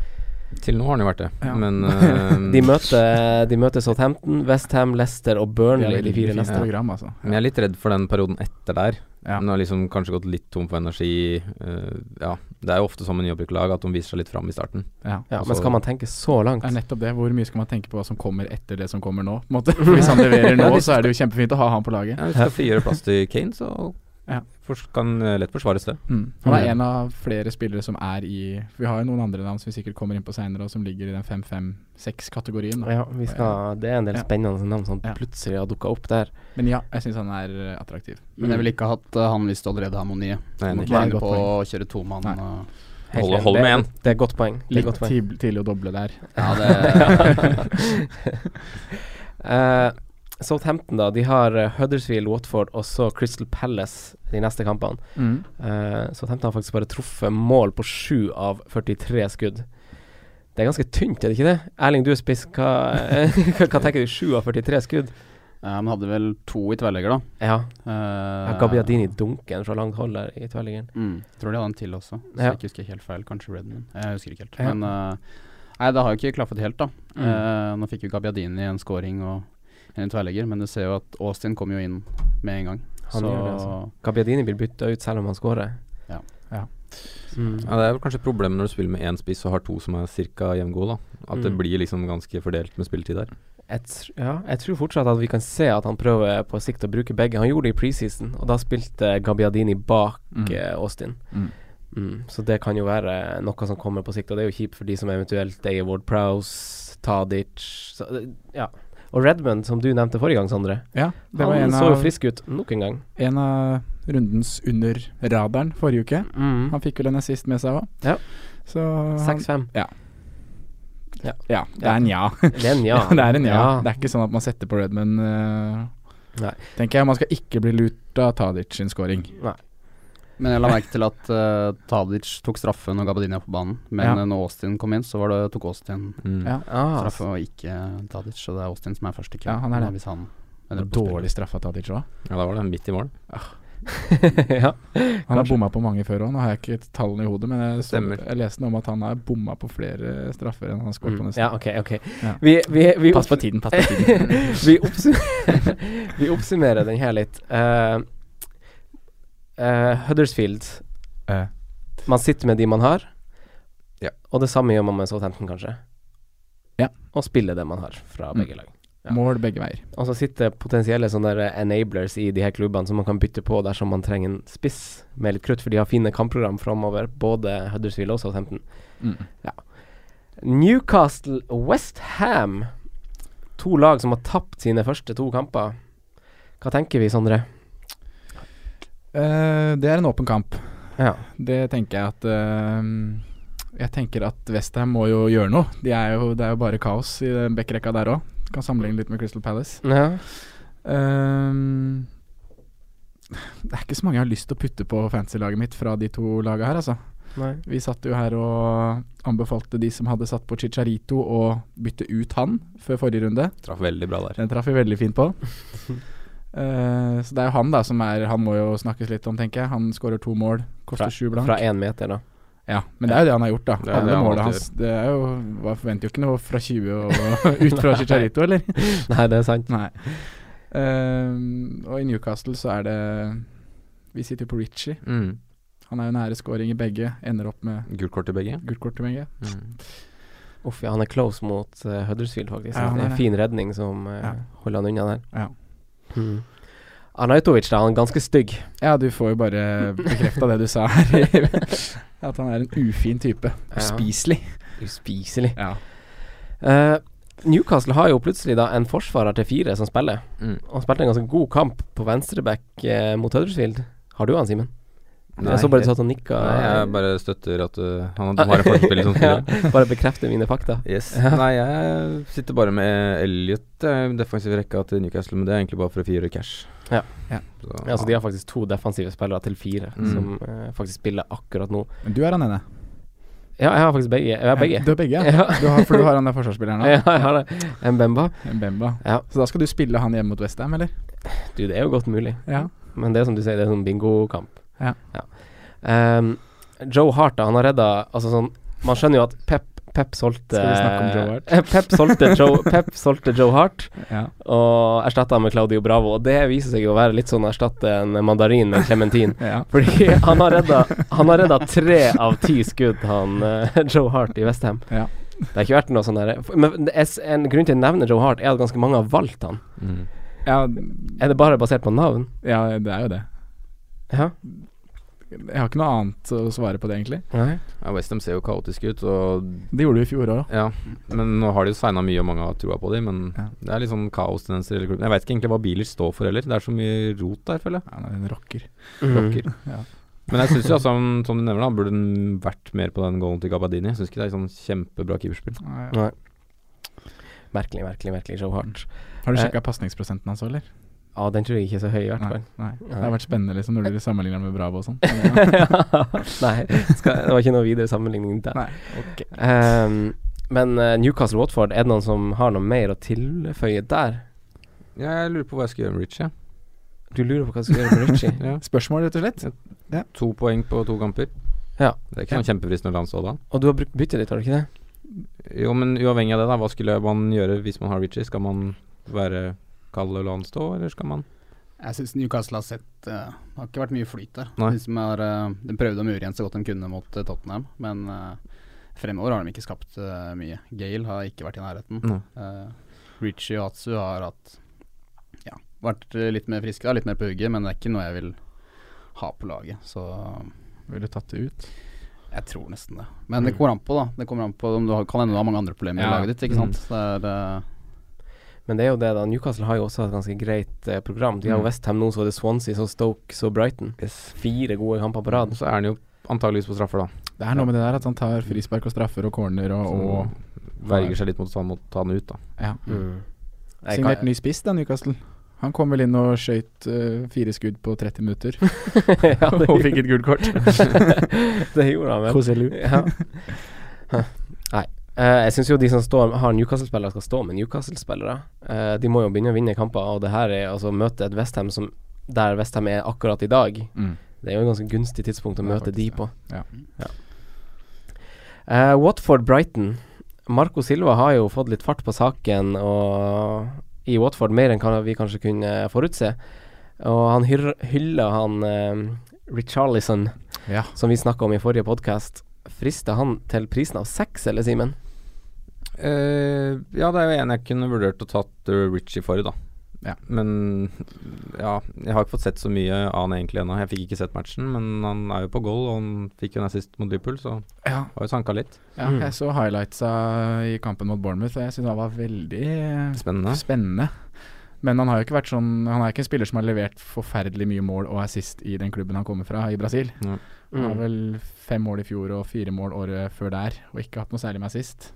F: Til nå har han jo vært det,
E: Ja.
F: men eh,
C: De møter, de møter Southampton, Westham, Leicester og
E: Det
C: Burnley
E: er
C: de fire
E: veldig fint
C: neste.
E: program, altså.
F: Men jeg er litt redd for den perioden etter der.
E: Ja.
F: Nå har liksom kanskje gått litt tom for energi. eh, ja, det er jo ofte sånn med nyopprykkelag at de viser seg litt fram i starten.
E: Ja.
C: Ja, men skal man tenke så langt?
E: Det er nettopp det. Hvor mye skal man tenke på hva som kommer etter det som kommer nå? På en måte. For Hvis han leverer nå, så er det jo kjempefint å ha han på laget.
F: Ja, hvis du skal frigjøre plass til Kane, så
E: Ja.
F: fors- kan eh, lett forsvares det.
E: Mm. Han er en av flere spillere som er i Vi har jo noen andre navn som vi sikkert kommer inn på seinere, og som ligger i den 5-5-6-kategorien.
C: Ja, vi skal, det er en del
E: Ja.
C: spennende navn som
E: Ja.
C: plutselig har dukka opp der.
E: Men ja, jeg syns han er eh, attraktiv.
B: Men jeg ville ikke ha hatt eh, han hvis du allerede har Monier.
F: Jeg er
B: Må
F: enig.
B: ikke
E: Nei,
B: finne
E: godt
B: på å kjøre tomann.
E: Nei.
B: og-
C: Helt
F: Hold-
C: enig.
F: hold
C: Det-
F: med en.
C: Det er et godt poeng. Det er et
E: Litt
C: godt poeng.
E: tid, tidlig å doble der.
B: Ja, det
C: Eh, Southampton, da. De har eh, Huddersfield, Watford og så Crystal Palace de neste kampene. Eh, Southampton har faktisk bare truffet mål på 7 av 43 skudd. Det er ganske tynt, er det ikke det? Erling, du er spiss. Hva, hva, hva tenker du? 7 av 43 skudd?
B: Ja, men hadde vel to i tverrlegger, da.
C: Ja.
B: Uh,
C: ja Gabiadini dunker den fra langt hold der i tverrliggeren.
B: Mm. Tror de hadde en til også, så
C: Ja.
B: jeg ikke husker helt feil. Kanskje Redman. Jeg husker ikke helt.
C: Ja.
B: Men eh, nei, det har jo ikke klaffet helt, da.
C: Mm.
B: Eh, nå fikk jo Gabiadini en scoring og en tverrlegger, men du ser jo at Austin kom jo inn med en gang.
C: Han
B: så
C: gjør det, Gabiadini blir bytta ut selv om han scorer.
B: Ja.
E: Ja.
C: Mm.
F: Ja, det er vel kanskje problemet når du spiller med én spiss og har to som er ca. jevngode. da. At det
C: Mm.
F: blir liksom ganske fordelt med spilletid der.
C: Jeg, tr ja, jeg tror fortsatt at vi kan se at han prøver på sikt å bruke begge. Han gjorde det i preseason, og da spilte Gabiadini bak
E: Mm.
C: eh, Austin.
E: Mm.
C: Mm, så det kan jo være noe som kommer på sikt, og det er jo kjipt for de som eventuelt eier Ward Prowse, Tadic så, det- Ja. Og Redmond, som du nevnte forrige gang, Sondre.
E: Ja, det var
C: Han
E: en
C: så jo
E: av,
C: frisk ut nok en gang.
E: en av rundens under radaren forrige uke.
C: Mm.
E: Han fikk vel en assist med seg òg.
C: Ja.
E: Så han,
C: 6-5.
E: ja, det er en ja.
C: Det er en ja.
E: det er en ja.
C: Ja.
E: Det er ikke sånn at man setter på Redman. eh,
C: Nei. Mm.
E: tenker jeg Man skal ikke bli lurt av Tadic sin scoring.
B: Men jeg la merke til at eh, Tadic tok straffe når Gabiadini var på banen, men
E: Ja.
B: eh, når Austin kom inn, så var det, tok Austin
F: Mm.
E: Ja.
C: Ah,
B: straffe og ikke eh, Tadic, så det er Austin som er først i køen.
E: Ja, han er det.
B: da, Hvis han
E: Det
B: ender
E: var
B: på å spille.
E: dårlig straffa Tadic òg.
F: Ja, da var det midt i mål.
C: ja.
E: Han har
C: Kanskje.
E: bomma på mange før òg. Nå har jeg ikke tallene i hodet, men jeg, så,
F: Stemmer.
E: jeg leste noe om at han har bomma på flere straffer enn han har skåret på
C: Mm.
E: nesten.
C: ja, OK, OK.
E: Ja.
C: Vi, vi, vi
E: Pass på tiden, pass på tiden.
C: vi, oppsum vi oppsummerer den her litt. Eh, eh, Huddersfield.
E: Eh.
C: Man sitter med de man har,
F: Ja.
C: og det samme gjør man med Southampton, kanskje.
E: Ja. Mm.
C: Og spiller det man har fra begge lag. Ja.
E: Mål begge veier.
C: Og så sitter potensielle sånne der enablers i de her klubbene som man kan bytte på dersom man trenger en spiss med litt krutt, for de har fine kampprogram framover, både Huddersfield og Southampton.
E: Mm.
C: Newcastle Westham. To lag som har tapt sine første to kamper. Hva tenker vi, Sondre?
E: Eh, det er en åpen kamp.
C: Ja.
E: Det tenker jeg at eh, Jeg tenker at Westham må jo gjøre noe. De er jo, det er jo bare kaos i den backrekka der òg. Kan sammenligne litt med Crystal Palace.
C: Ja.
E: Ehm, det er ikke så mange jeg har lyst til å putte på fantasy-laget mitt fra de to laga her, altså.
C: Nei.
E: Vi satt jo her og anbefalte de som hadde satt på Chicharito å bytte ut han før forrige runde.
F: Traff veldig bra der.
E: Den traff vi veldig fint på. Eh, så det er jo han da som er Han må jo snakkes litt om, tenker jeg. Han skårer to mål, koster
C: Fra-
E: sju blank.
C: Fra én meter, da.
E: Ja, men det er jo det han har gjort, da.
F: Det er det
E: Alle
F: han
E: målene
F: alltid
E: hans Det er jo Man forventer jo ikke noe fra 20 og ut fra Chicharito, eller?
C: Nei, det er sant.
E: Nei. Eh, og i Newcastle så er det Vi sitter jo på Ritchie.
F: Mm.
E: Han er jo nære scoring i begge. Ender opp med
F: Gult kort til begge.
E: gult kort til begge.
F: Mm.
C: Uff, ja, han er close mot eh, Huddersfield, faktisk.
E: Ja, han
C: det
E: er
C: er en
E: det.
C: fin redning som eh,
E: Ja.
C: holder han unna der.
E: Ja.
C: Mm. Arnautovic, da. Han er ganske stygg.
E: Ja, du får jo bare bekrefta det du sa her. At han er en ufin type. Uspiselig.
C: Uspiselig.
E: Ja.
C: Eh, Newcastle har jo plutselig da en forsvarer til fire som spiller.
F: Mm.
C: Han spilte en ganske god kamp på venstreback eh, mot Huddersfield. Har du han, Simen?
F: Nei,
C: Jeg så bare du satt og nikka.
F: Nei, jeg bare støtter at uh, han har en forspiller som spiller.
C: Ja, bare bekrefte mine fakta.
F: Yes.
C: Ja.
F: Nei, jeg sitter bare med Elliot eh, i defensiv rekka til Newcastle, men det er egentlig bare for å frigjøre cash.
C: Ja.
E: Ja.
F: Så,
C: Ja, altså så De har faktisk to defensive spillere til fire
F: Mm.
C: som eh, faktisk spiller akkurat nå.
E: Men du er han ene.
C: Ja, jeg har faktisk begge. Jeg har
E: Ja,
C: begge.
E: du har begge, ja. Du har- for du har han der forsvarsspilleren
C: Ja,
E: også.
C: jeg har det. Mbemba.
E: Mbemba.
C: Ja.
E: Så da skal du spille han hjemme mot Westham, eller?
C: Du, det er jo godt mulig.
E: Ja.
C: Men det er som du sier, det er sånn bingokamp.
E: Ja.
C: Ehm, Joe Hart, da, han har redda Altså sånn Man skjønner jo at Pep Pep solgte Eh,
E: Skal vi snakke om Joe Hart?
C: Pep solgte Joe, Pep solgte Joe Hart
E: Ja.
C: og erstatta han med Claudio Bravo. Og det viser seg jo å være litt sånn å erstatte en mandarin med en klementin.
E: Ja.
C: Fordi han har redda Han har redda tre av ti skudd, han eh, Joe Hart i Westham.
E: Ja.
C: Det har ikke vært noe sånn derre Men det er s- en grunn til å nevne Joe Hart, er at ganske mange har valgt han.
E: Ja,
C: Er det bare basert på navn?
E: ja, det er jo det.
C: Ja.
E: Jeg har ikke noe annet å svare på det, egentlig.
C: Nei.
F: Ja, Westham ser jo kaotiske ut, og
E: Det gjorde du i fjor òg.
F: ja. Men nå har de jo signa mye, og mange har trua på dem, men det er litt sånn kaostendenser i hele klubben. Jeg veit ikke egentlig hva biler står for heller, det er så mye rot der, føler jeg.
E: Ja, han er en rocker. Mm.
C: Mm.
F: Rocker.
E: Ja.
F: Men jeg syns jo, altså, som- som du nevner, da, burde den vært mer på den goalen til Gabadini. Jeg syns ikke det er sånn kjempebra keeperspill.
E: Ja, ja.
C: Nei. Merkelig, merkelig, merkelig Joe Hart.
E: Har du sjekka pasningsprosenten hans òg, eller?
C: Ja, den tror jeg ikke er så høy, i Eh. hvert
E: Nei,
C: fall.
E: nei. Det har vært spennende liksom når dere sammenligner med Bravo og sånn.
C: Nei, skal, det var ikke noe videre sammenligning der.
E: Nei, ok.
C: Ehm, men eh, Newcastle-Watford, er det noen som har noe mer å tilføye der?
F: Jeg lurer på hva jeg skal gjøre med Richie.
C: Du lurer på hva du skal gjøre med Ritchie?
F: Ja.
E: Spørsmål, rett og slett?
F: To poeng på to kamper.
C: Ja.
F: Det er ikke noe kjempefristende landslag da.
C: Og du har brukt byttet ditt, har du ikke det?
F: Jo, men uavhengig av det, da, hva skulle man gjøre hvis man har Richie? Skal man være kald og la han stå, eller skal man
B: Jeg syns Newcastle har sett eh, Det har ikke vært mye flyt der.
F: Nei.
B: De, som har, eh, de prøvde å mure igjen så godt de kunne mot eh, Tottenham, men eh, fremover har de ikke skapt eh, mye. Gale har ikke vært i nærheten.
F: Nei.
B: Eh, Richie og Atsu har hatt Ja, vært eh, litt mer friske, da, litt mer på hugget, men det er ikke noe jeg vil ha på laget. Så
E: Ville tatt det ut. Mm.
B: jeg tror nesten det. Men det kommer an på, da. Det kommer an på om du har, kan hende du har mange andre problemer i
E: Ja.
B: laget ditt, ikke
F: Mm.
B: sant. Så det er eh,
C: Men det er jo det, da. Newcastle har jo også et ganske greit eh, program.
E: Mm.
C: De har jo Westham nå, så er det Swansea, så Stoke, så Brighton. Fire gode kamper på rad.
F: Så er han jo antageligvis på straffer, da.
E: Det er noe med det der at han tar frispark og straffer og corner og, og
C: Mm.
F: Verger seg litt mot å ta han ut, da.
E: ja.
C: Jeg
E: Signert
C: kan-
E: ny spiss, da, Newcastle. Han kom vel inn og skøyt eh, fire skudd på 30 minutter,
C: ja, det,
E: og fikk et gult kort.
C: det gjorde han vel. Ja. Nei. Eh, jeg syns jo de som står, har Newcastle-spillere, skal stå med Newcastle-spillere. Eh, de må jo begynne å vinne kamper, og det her er altså å møte et Westham som der Westham er akkurat i dag.
E: Mm.
C: Det er jo et ganske gunstig tidspunkt å
E: Det er
C: møte de
E: faktisk
C: på.
E: Ja.
C: Eh, Watford-Brighton. Marco Silva har jo fått litt fart på saken og i Watford mer enn kan- vi kanskje kunne forutse. Og han hyr- hyller han eh, Richarlison,
E: Ja.
C: som vi snakka om i forrige podkast. Frister han til prisen av seks, eller, Simen?
F: Eh, ja, det er jo en jeg kunne vurdert å tatt eh, Richie for, da.
E: Ja.
F: Men ja, jeg har ikke fått sett så mye av han egentlig ennå. Jeg fikk ikke sett matchen, men han er jo på goal, og han fikk jo en assist mot Liverpool, så
E: Ja.
F: har jo sanka litt.
E: Ja,
C: Mm.
E: jeg så highlightsa i kampen mot Bournemouth, og jeg syns han var veldig eh,
F: Spennende.
E: spennende. Men han har jo ikke vært sånn Han er ikke en spiller som har levert forferdelig mye mål og assist i den klubben han kommer fra, i Brasil.
F: Ja.
E: Han
C: Mm.
E: har vel fem mål i fjor og fire mål året før der, og ikke hatt noe særlig med assist.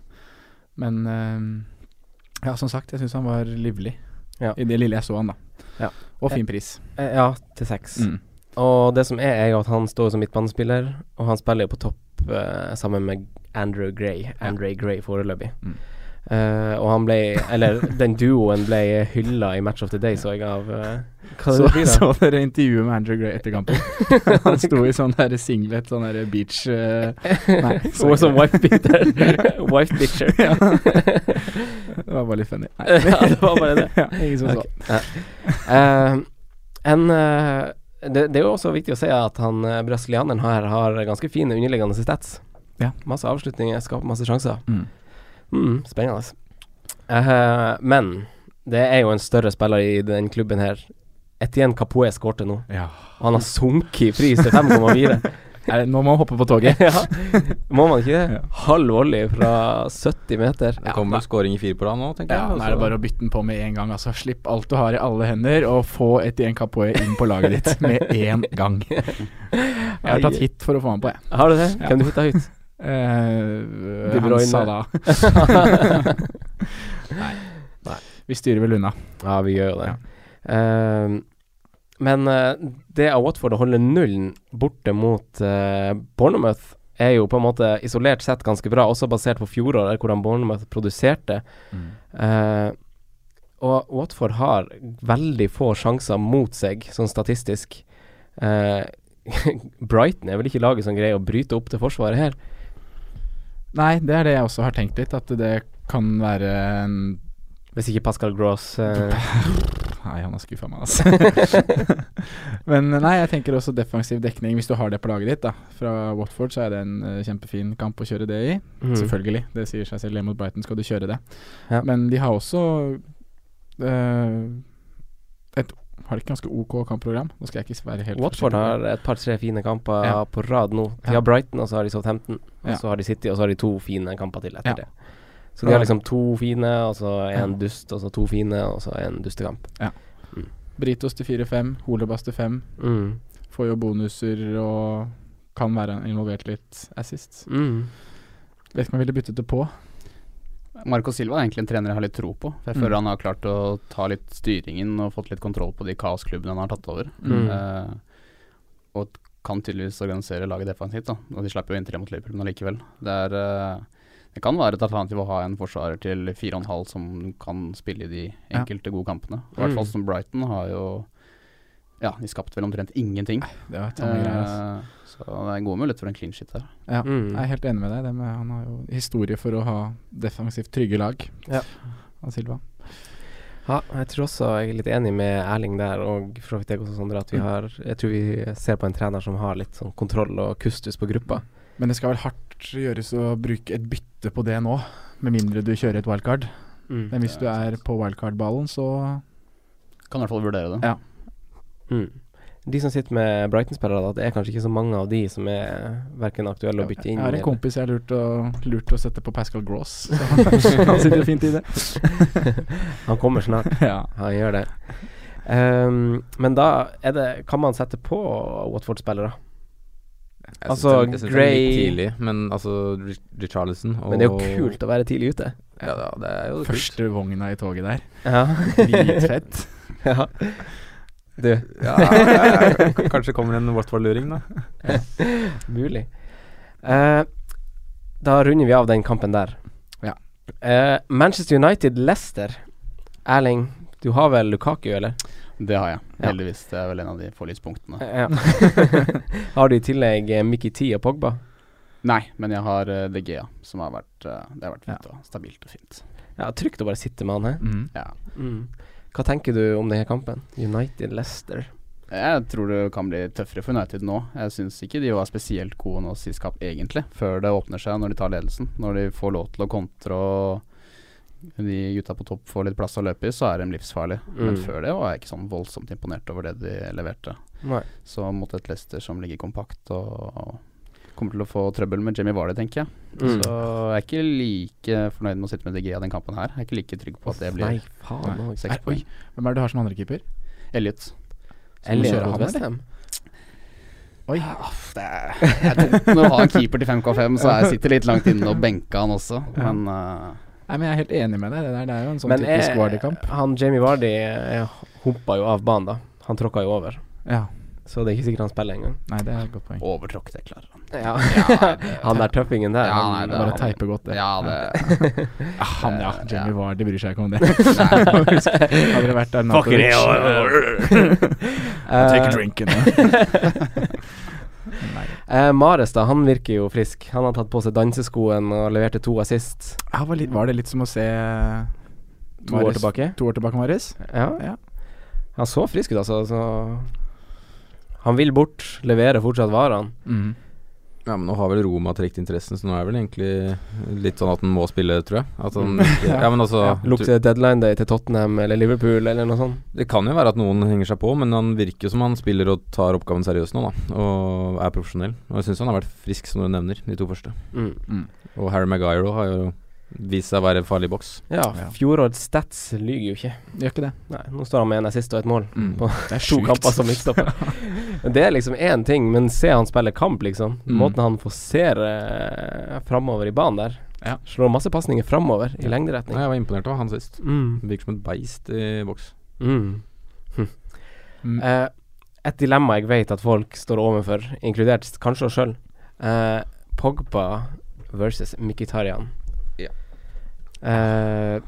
E: Men eh, ja, som sagt, jeg syns han var livlig
C: Ja.
E: i det lille jeg så han, da.
C: Ja.
E: Og fin pris.
C: Eh, ja, til seks.
E: Mm.
C: Og det som er, er jo at han står som midtbanespiller, og han spiller jo på topp eh, sammen med Andrew Gray, Andre Gray foreløpig.
E: Mm.
C: Eh, og han ble, eller den duoen ble hylla i Match of the Day, så jeg av eh, Hva er det
E: Så,
C: det blir da?
E: så dere intervjuet med Andrew Gray etter kampen? Han sto i sånn der singlet, sånn der beach eh, Nei.
C: Hun var som wife beater. wife bitcher.
E: Ja. Det var bare litt funny. Nei.
C: ja, det var bare det.
E: Ja, ingen som
C: Ok. Eh, en, eh, det, det er jo også viktig å si at han eh, brasilianeren her har ganske fine underliggende stats.
E: Ja.
C: Masse avslutninger, skaper masse sjanser.
E: Mm.
C: Mm, spennende. Eh, men det er jo en større spiller i den klubben her. Etienne Capoe skårte nå.
E: så. Ja.
C: Og han har sunket i pris til 5,4.
E: Er det, nå må man hoppe på toget.
C: ja, må man ikke det?
E: Ja.
C: Halv volley fra 70 meter.
F: Det kommer vel skåring i fire på rad nå, tenker
E: Ja,
F: jeg.
E: nå
C: altså.
E: er det bare å bytte den på med en gang. Altså. Slipp alt du har i alle hender, og få et Ien Capoe inn på laget ditt med en gang. Jeg har tatt hit for å få han på, jeg.
C: Har du det? Hvem du hitta høyt?
E: Eh,
C: De
E: han
C: Bruyne.
E: sa da Nei. Vi styrer vel unna.
C: Ja, vi gjør jo det. Eh, men eh, det av Watford å holde nullen borte mot eh, Bournemouth er jo på en måte isolert sett ganske bra, også basert på fjoråret, hvordan Bournemouth produserte. Eh, og Watford har veldig få sjanser mot seg, sånn statistisk. Eh, Brighton er vel ikke laget som greier å bryte opp det forsvaret her.
E: Nei, det er det jeg også har tenkt litt, at det kan være en
C: Hvis ikke Pascal Gross eh,
E: Nei, han har skuffa meg, altså. Men nei, jeg tenker også defensiv dekning, hvis du har det på laget ditt. da Fra Watford så er det en eh, kjempefin kamp å kjøre det i.
C: Mhm.
E: Selvfølgelig, det sier seg selv. Hjemme mot Brighton skal du kjøre det.
C: Ja.
E: Men de har også eh, et Har de ikke ganske ok kampprogram? Nå skal jeg ikke være helt
C: Watford
E: forsiktig.
C: har et par-tre fine kamper
E: Ja.
C: på rad nå. De
E: Ja.
C: har Brighton, og så har de Southampton. Og
E: Ja.
C: så har de City, og så har de to fine kamper til etter
E: Ja.
C: det. Så de har liksom to fine, og så en
E: Ja.
C: dust, og så to fine, og så en dustekamp.
E: Britos til 4-5, Holebas til 5.
C: Mm.
E: Får jo bonuser og kan være involvert litt assist.
C: Mm.
E: Vet ikke om jeg ville byttet det på.
B: Marco Silva er egentlig en trener jeg har litt tro på. For
E: Mm.
B: jeg føler han har klart å ta litt styringen og fått litt kontroll på de kaosklubbene han har tatt over.
C: Mm.
B: Eh, og kan tydeligvis organisere laget defensivt, da. Og de slipper jo inn tre mot Liverpool, men allikevel. Det er eh, det kan være et alternativ å ha en forsvarer til 4,5 som kan spille i de
E: Ja.
B: enkelte gode kampene. I hvert fall
C: Mm.
B: som Brighton har jo Ja, de skapte vel omtrent ingenting.
E: Det var samme greier, altså.
B: Eh, så det er gode muligheter for en clean shit der.
E: Ja,
C: Mm.
E: jeg er helt enig med deg. Det med, han har jo historie for å ha defensivt trygge lag.
C: Ja.
E: Av Silva.
C: Ja, jeg tror også jeg er litt enig med Erling der, og for så vidt jeg også, Sondre, at vi
E: Mm.
C: har Jeg tror vi ser på en trener som har litt sånn kontroll og kustus på gruppa.
E: Men det skal vel hardt gjøres å bruke et bytte på det nå, med mindre du kjører et wildcard. Men hvis du er på wildcard-ballen, så
B: Kan i hvert fall vurdere det.
E: Ja.
C: Mm. De som sitter med Brighton-spillere, da, det er kanskje ikke så mange av de som er verken aktuelle å bytte
E: Jeg
C: inn
E: har en
C: eller-
E: kompis jeg har lurt, å- lurt å sette på Pascal Gross. Så han han sitter fint i det.
C: Han kommer snart.
E: Ja.
C: Han gjør det. Ehm, men da er det Kan man sette på Watford-spillere?
F: Jeg
C: Altså,
F: synes det- jeg synes det er litt
C: Gray-
F: tidlig, Men altså Rich- Richarlison og
C: Men det er jo kult å være tidlig ute.
F: Ja, da, det er jo kult.
E: Første vogna i toget der.
C: Ja.
E: Dritfett.
C: ja. Du,
F: Ja, ja, ja, k- Kanskje kommer en Watford-luring, da.
C: mulig. Eh, da runder vi av den kampen der.
E: Ja.
C: Eh, Manchester United-Leicester. Erling, du har vel Lukaku, eller?
B: Det har jeg,
C: Ja.
B: heldigvis. Det er vel en av de få lyspunktene.
C: Ja. har du i tillegg eh, Mickey T og Pogba?
B: Nei, men jeg har eh, De Gea, som har vært eh, Det har vært fint og stabilt og fint.
C: Ja, trygt å bare sitte med han her.
E: Mm.
B: Ja.
C: Hva tenker du om denne kampen? United-Leicester.
B: Jeg tror det kan bli tøffere for United nå. Jeg syns ikke de var spesielt gode nå sist kamp, egentlig. Før det åpner seg, når de tar ledelsen. Når de får lov til å kontre og de gutta på topp får litt plass å løpe i, så er de livsfarlige. Men
C: Mm.
B: før det var jeg ikke sånn voldsomt imponert over det de leverte.
C: Nei.
B: Så mot et Leicester som ligger kompakt og kommer til å få trøbbel med Jamie Vardy, tenker jeg.
C: Mm.
B: Så jeg er ikke like fornøyd med å sitte med DG av den kampen her. Jeg er ikke like trygg på at det
C: Nei,
B: blir
C: faen òg.
B: seks
E: Oi,
B: poeng.
E: hvem er det du har som andrekeeper?
B: Elliot.
C: Jeg
E: må
C: ler
E: kjøre
C: mot
E: han,
C: Westham.
B: Oi.
C: Ah,
B: Det er, det er tungt når du har en keeper til 5K5, så jeg sitter litt langt inne og benker han også. Men eh,
E: Nei, men Jeg er helt enig med deg. Det, der, det er jo en sånn
C: Men
E: typisk
C: eh,
E: Wardy-kamp.
C: han Jamie Vardy eh, humpa jo av banen, da. Han tråkka jo over.
E: Ja.
C: Så det er ikke sikkert han spiller engang.
E: Nei, det er et godt poeng.
B: overtråkk, det klarer han.
C: Ja.
B: det-
C: han der tøffingen der.
B: Ja,
C: han-
B: nei, det-
E: Bare teipe godt, det.
B: Ja, det
E: Ah, han, ja.
B: Det-
E: Jamie Vardy bryr seg ikke om det. Hadde det vært
D: Fucker
E: Arnatovic
D: det, og
C: Eh,
E: drinken. Nei.
C: eh, Mares, da, han virker jo frisk. Han har tatt på seg danseskoen og leverte to assist
E: Ja, var, litt, var det litt som å se eh,
C: to år
E: Mahrez-
C: tilbake.
E: To år tilbake, Marius?
C: Ja.
E: Ja.
C: Han så frisk ut, altså. Så han vil bort, leverer fortsatt varene.
E: Mm.
F: Ja, men nå har vel Roma trukket interessen, så nå er det vel egentlig litt sånn at han må spille, tror jeg. At han ikke, ja, men altså
C: Mm. Lukter deadline day til Tottenham eller Liverpool eller noe sånt.
F: Det kan jo være at noen henger seg på, men han virker jo som han spiller og tar oppgaven seriøst nå, da. Og er profesjonell. Og jeg syns han har vært frisk, som du nevner, de to første.
C: Mm.
F: Og Harry Maguire har jo vist seg å være farlig i boks.
C: Ja,
E: Ja.
C: fjorårets stats lyger jo ikke.
E: Gjør ikke det.
C: Nei, nå står han med en assist og et mål.
E: Mm.
C: På
E: Det er
C: to kamper som midtstopper. det er liksom én ting, men se han spille kamp, liksom.
E: Mm.
C: Måten han forserer framover i banen der.
E: Ja.
C: Slår masse pasninger framover i lengderetning.
F: Nei, jeg var imponert over han sist.
C: Mm.
F: Virker som et beist i boks.
C: Mm. Hm.
E: Mm.
C: Eh, et dilemma jeg vet at folk står overfor, inkludert kanskje oss sjøl. Pogba versus Mkhitaryan.
F: Ja.
C: Eh,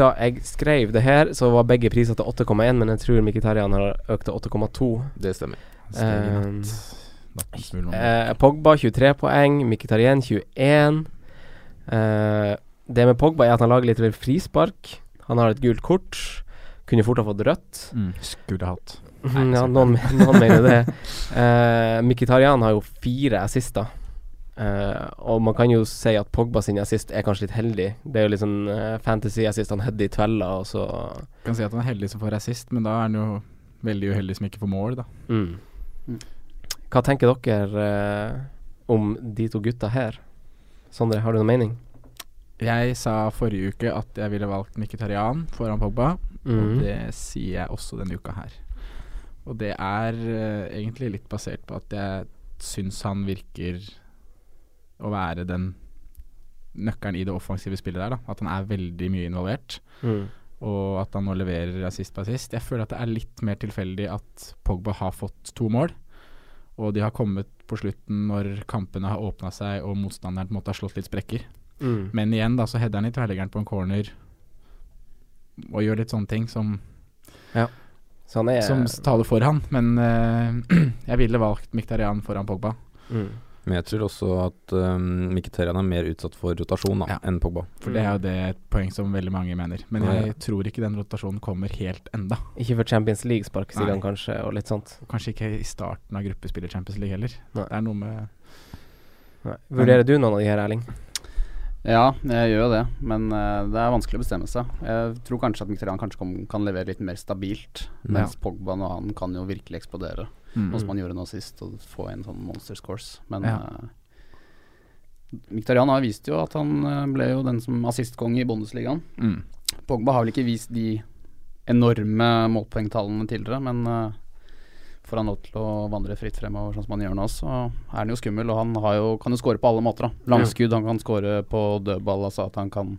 C: da jeg skrev det her, så var begge priser til 8,1, men jeg tror Mkhitaryan har økt til 8,2.
F: Det stemmer.
E: Steg i
C: Eh,
E: Nattens mulm.
C: Eh, Pogba 23 poeng, Mkhitaryan 21. Eh, det med Pogba er at han lager litt vel frispark. Han har et gult kort. Kunne fort ha fått rødt.
E: Mm, skulle hatt.
C: Mhm, ja, noen, men- noen mener det. Eh, Mkhitaryan har jo fire assister. Eh, og man kan jo si at Pogba sin assist er kanskje litt heldig. Det er jo litt sånn eh, fantasy-assist. Han hadde i tvella, og så
E: Kan si at han er heldig som får rasist, men da er han jo veldig uheldig som ikke får mål, da.
C: mm. Hva tenker dere eh, om de to gutta her? Sondre, har du noen mening?
E: Jeg sa forrige uke at jeg ville valgt Mkhitaryan foran Pogba,
C: Mhm.
E: og det sier jeg også denne uka her. Og det er eh, egentlig litt basert på at jeg syns han virker å være den nøkkelen i det offensive spillet der, da. At han er veldig mye involvert.
C: Mhm.
E: Og at han nå leverer assist på assist. Jeg føler at det er litt mer tilfeldig at Pogba har fått to mål. Og de har kommet på slutten når kampene har åpna seg og motstanderen på en måte har slått litt sprekker.
C: Mm.
E: Men igjen da, så header han i tverrleggeren på en corner og gjør litt sånne ting som
C: Så han er
E: Som taler for han, men eh, jeg ville valgt Miktarian foran Pogba.
C: Mm.
F: Men jeg tror også at um, Mkhitaryan er mer utsatt for rotasjon da, enn Pogba.
E: For det er jo det et poeng som veldig mange mener. Men
F: Ja.
E: jeg tror ikke den rotasjonen kommer helt enda.
C: Ikke for Champions League-spark, sier
E: Nei.
C: han kanskje, og litt sånt.
E: Kanskje ikke i starten av gruppespill i Champions League heller.
C: Nei.
E: Det er noe med
C: Vurderer du noen av de her, Erling?
B: Ja, jeg gjør jo det, men eh, det er vanskelig å bestemme seg. Jeg tror kanskje at Mkhitaryan kanskje kom, kan levere litt mer stabilt,
E: Mm.
B: mens Pogba og han kan jo virkelig eksplodere,
E: Mm.
B: noe som han gjorde nå sist, og få en sånn monster scores. Men
E: Ja.
B: eh, Mkhitaryan har vist jo at han eh, ble jo den som assistkonge i Bundesligaen.
E: Mm.
B: Pogba har vel ikke vist de enorme målpoengtallene tidligere, men eh, får han lov til å vandre fritt fremover sånn som han gjør nå, så er han jo skummel. Og han har jo, kan jo skåre på alle måter. da Langskudd, han kan skåre på dødball. Altså at han kan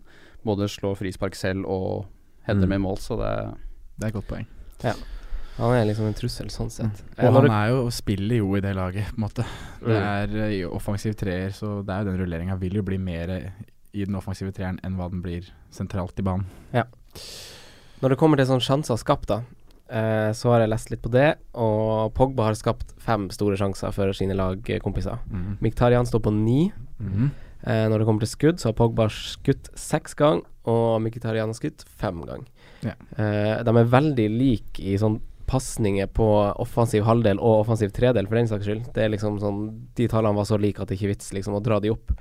B: både slå frispark selv og heade
F: Mm.
B: med mål, så det
E: Det er et godt poeng.
C: Ja. Han er liksom en trussel, sånn sett. Eh,
E: Og
C: når
E: han
C: du-
E: er jo, spiller jo i det laget, på en måte. Det er eh, i offensiv treer, så det er jo den rulleringa vil jo bli mer eh, i den offensive treeren enn hva den blir sentralt i banen.
C: Ja. Når det kommer til sånn sjanser skapt, da, eh, så har jeg lest litt på det, og Pogba har skapt fem store sjanser for sine lagkompiser.
E: Mhm.
C: Miktarian står på ni.
E: Mhm.
C: Eh, når det kommer til skudd, så har Pogba skutt seks ganger, og Miktarian har skutt fem ganger.
E: Ja.
C: Eh, de er veldig like i sånn pasninger på offensiv halvdel og offensiv tredel, for den saks skyld. Det er liksom sånn, De tallene var så like at det ikke er vits liksom, å dra de opp.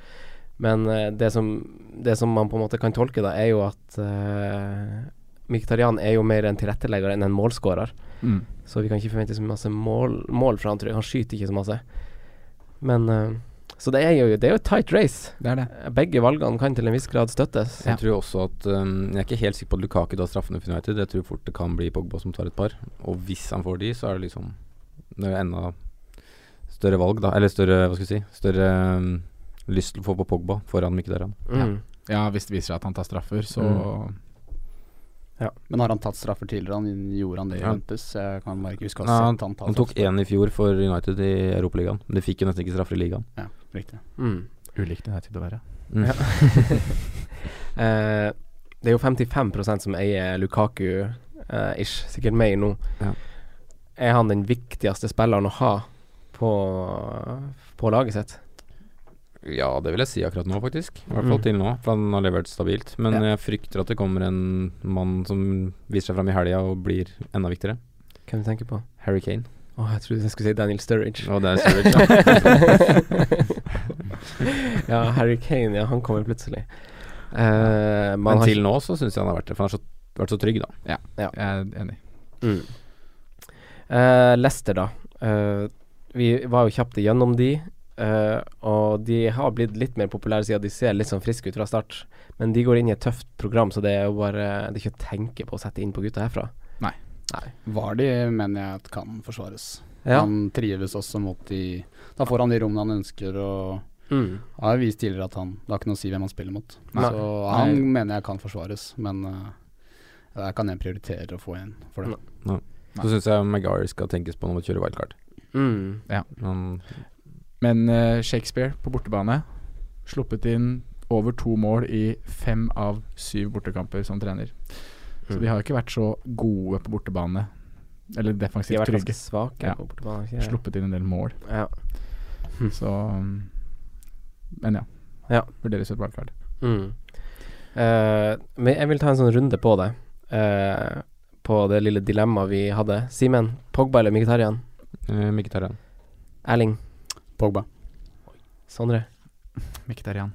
C: Men eh, det, som, det som man på en måte kan tolke, da, er jo at uh, Mkhitaryan er jo mer en tilrettelegger enn en målskårer.
E: Mm.
C: Så vi kan ikke forvente så masse mål, mål fra han, tror jeg. Han skyter ikke så masse. Men eh, Så det er jo, det er jo et tight race.
E: Det er det.
C: Begge valgene kan til en viss grad støttes.
F: Jeg tror også at um, Jeg er ikke helt sikker på at Lukaku tar straffene for United. Jeg tror fort det kan bli Pogba som tar et par. Og hvis han får de, så er det liksom Det er enda større valg, da. Eller større Hva skal vi si Større um, lyst til å få på Pogba foran Mkhitaryan.
C: Mm.
E: Ja, hvis det viser seg at han tar straffer, så
B: Men har han tatt straffer tidligere? Han gjorde han det i
F: Ja.
B: Juventus? Jeg kan bare ikke huske å
F: Nei,
B: ha
F: han,
B: sett han ta
F: han tok
B: straffer.
F: én i fjor for United i Europaligaen. Men de fikk jo nesten ikke straffer i ligaen.
B: Ja, riktig.
C: Mm.
E: Ulikt United å være.
F: Mm.
C: Ja. Eh, det er jo 55 som eier Lukaku-ish, sikkert meg nå.
F: Ja.
C: Er han den viktigste spilleren å ha på, på laget sitt?
F: Ja, det vil jeg si akkurat nå, faktisk. I hvert
C: Mm.
F: fall til nå, for han har levert stabilt. Men jeg frykter at det kommer en mann som viser seg fram i helga og blir enda viktigere.
C: Hvem tenker du på?
F: Harry Kane.
C: Å, jeg trodde jeg skulle si Daniel Sturridge.
F: Og det er Sturridge, ja.
C: ja, Harry Kane, ja, han kommer plutselig. Eh, man
F: Men
C: har
F: til nå så syns jeg han har vært det, for han har så, vært så trygg, da.
E: Ja,
C: Ja.
E: jeg er enig.
C: Mm. Eh, Leicester, da. Eh, vi var jo kjapt igjennom de. eh, og de har blitt litt mer populære siden de ser litt sånn friske ut fra start. Men de går inn i et tøft program, så det er jo bare Det er ikke å tenke på å sette inn på gutta herfra.
E: Nei.
C: Nei.
B: Vardy mener jeg at kan forsvares.
C: Ja.
B: Han trives også mot de Da får han de rommene han ønsker, og
C: Mm.
B: har jo vist tidligere at han Det har ikke noe å si hvem han spiller mot.
C: Nei.
B: Så han mener jeg kan forsvares, men eh, der kan jeg prioritere å få en for det.
F: Så syns jeg Maguire skal tenkes på når man kjører wildcard.
C: Mm.
E: Ja.
F: Han
E: Men eh, Shakespeare på bortebane sluppet inn over to mål i fem av syv bortekamper som trener. Så
C: Mm.
E: de har ikke vært så gode på bortebane. Eller
C: De
E: defensivt
C: har vært
E: trygge.
C: ganske svake
E: Ja.
C: på bortebane. ikke det?
E: Sluppet inn en del mål.
C: Ja.
E: Så um, Men ja.
C: Mm. Ja.
E: Vurderes et wildcard.
C: Mm. Eh, men jeg vil ta en sånn runde på det. Eh, på det lille dilemmaet vi hadde. Simen, Pogba eller Mkhitaryan?
F: Eh, Mkhitaryan.
C: Erling?
B: Pogba.
C: Sondre?
E: Mkhitaryan.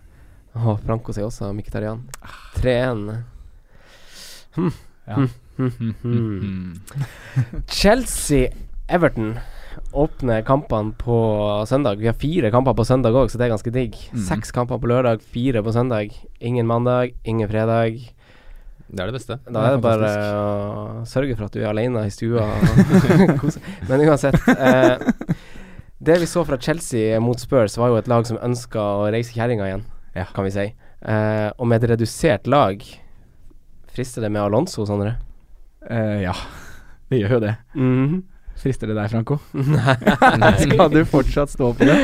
C: Og Franco sier også Mkhitaryan. 3-1. Hm.
E: Ja.
C: Hm. Hm.
E: Mhm.
C: Hm. Chelsea-Everton åpner kampene på søndag. Vi har fire kamper på søndag òg, så det er ganske digg.
F: Mhm.
C: Seks kamper på lørdag, fire på søndag. Ingen mandag, ingen fredag.
F: Det er det beste.
C: Da er det bare å sørge for at du er alene i stua og kose Men uansett. Eh, det vi så fra Chelsea mot Spurs, var jo et lag som ønska å reise kjerringa igjen, kan vi si. Eh, og med et redusert lag, frister det med Alonso, Sondre?
E: Eh, ja, det gjør jo det.
C: Mhm.
E: Frister det deg, Franco?
C: Nei.
E: Skal du fortsatt stå på det?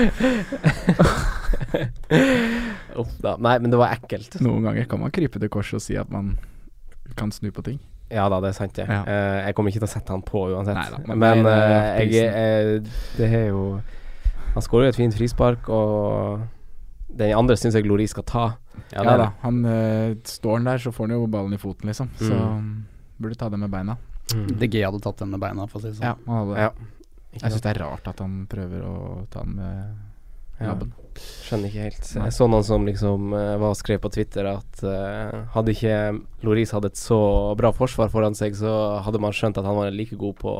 C: Uff da. Nei, men det var ekkelt.
E: Noen ganger kan man krype til korset og si at man kan snu på ting.
C: Ja da, det er sant, det.
E: Ja.
C: Eh, jeg kommer ikke til å sette han på uansett.
E: Neida,
C: men
E: men det er
C: eh,
E: prisen.
C: jeg, eh, det er jo Han skårer jo et fint frispark, og den andre syns jeg Lori skal ta.
E: Ja, da. Han eh, står han der, så får han jo ballen i foten, liksom. Så
C: Mm.
E: burde ta det med beina. Mm.
B: DG hadde tatt den med beina, for å si det sånn.
E: Ja, han hadde det.
C: Ja.
E: Jeg syns det er rart at han prøver å ta den med
C: Ja.
E: labben.
C: Skjønner ikke helt.
E: Nei.
C: Jeg så noen som liksom eh, var og skrev på Twitter at eh, hadde ikke Loris hatt et så bra forsvar foran seg, så hadde man skjønt at han var like god på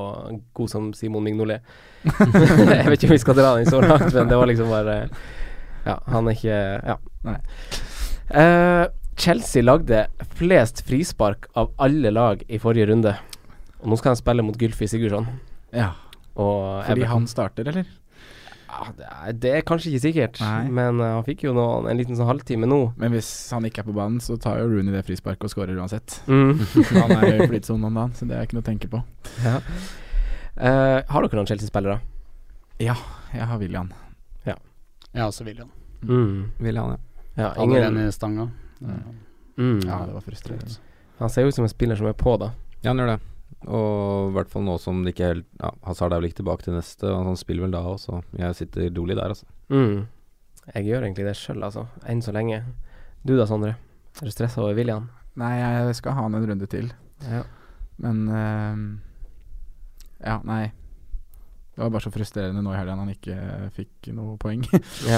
C: God som Simon Mignolet. jeg vet ikke om vi skal dra den så langt, men det var liksom bare Ja, han er ikke Ja.
E: Nei.
C: Eh, Chelsea lagde flest frispark av alle lag i forrige runde. Og nå skal han spille mot Gylfi Sigurdsson.
E: Ja.
C: Og
E: Fordi
C: Everton.
E: han starter, eller?
C: Ja, det, er, det er kanskje ikke sikkert,
E: Nei.
C: men eh, han fikk jo noen, en liten sånn halvtime nå.
E: Men hvis han ikke er på banen, så tar jo Rooney det frisparket og skårer uansett.
C: Mm.
E: han er jo i flytsonen om dagen, så det er ikke noe å tenke på.
C: Ja. Eh, har dere noen Chelsea-spillere?
E: Ja, jeg har William.
B: Ja, også William.
C: Mm.
F: Vil han, ja.
C: Ja,
B: Hadde den
C: ingen
B: i stanga. Eh,
C: mm.
E: Ja, det var frustrerende.
C: Han ser jo ut som en spiller som er på, da.
F: Ja, han gjør det. Og i hvert fall nå som det ikke helt ja, Hazard er vel ikke tilbake til neste, og han spiller vel da òg, så jeg sitter rolig der, altså.
C: Mm. Jeg gjør egentlig det sjøl, altså. Enn så lenge. Du da, Sondre? Er du stressa over William?
E: Nei, jeg skal ha han en runde til.
C: Ja.
E: Men ehm, Ja, nei. Det var bare så frustrerende nå i helga han ikke eh, fikk noe poeng.
C: Ja.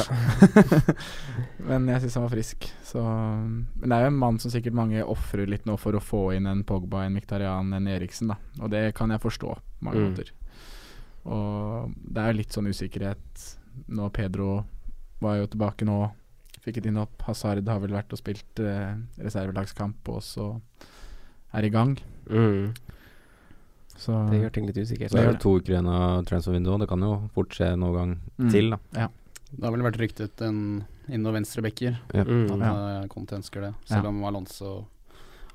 E: Men jeg syns han var frisk, så Men det er jo en mann som sikkert mange ofrer litt nå for å få inn en Pogba, en Miktarian, en Eriksen, da. Og det kan jeg forstå på mange
C: Mm.
E: måter. Og det er jo litt sånn usikkerhet nå. Pedro var jo tilbake nå, fikk et innhopp. Hazard har vel vært og spilt eh, reservelagskamp, og så er i gang.
C: Mm.
E: Så
C: Det gjør ting litt usikkert.
F: Så er det to uker igjen av transfervinduet, det kan jo fort skje noen gang
E: Mm.
F: til, da.
B: Det har vel vært ryktet en inn- og venstrebacker.
F: Ja.
B: At
C: Mm.
B: ja. Conte ønsker det. Selv
E: Ja.
B: om Alonso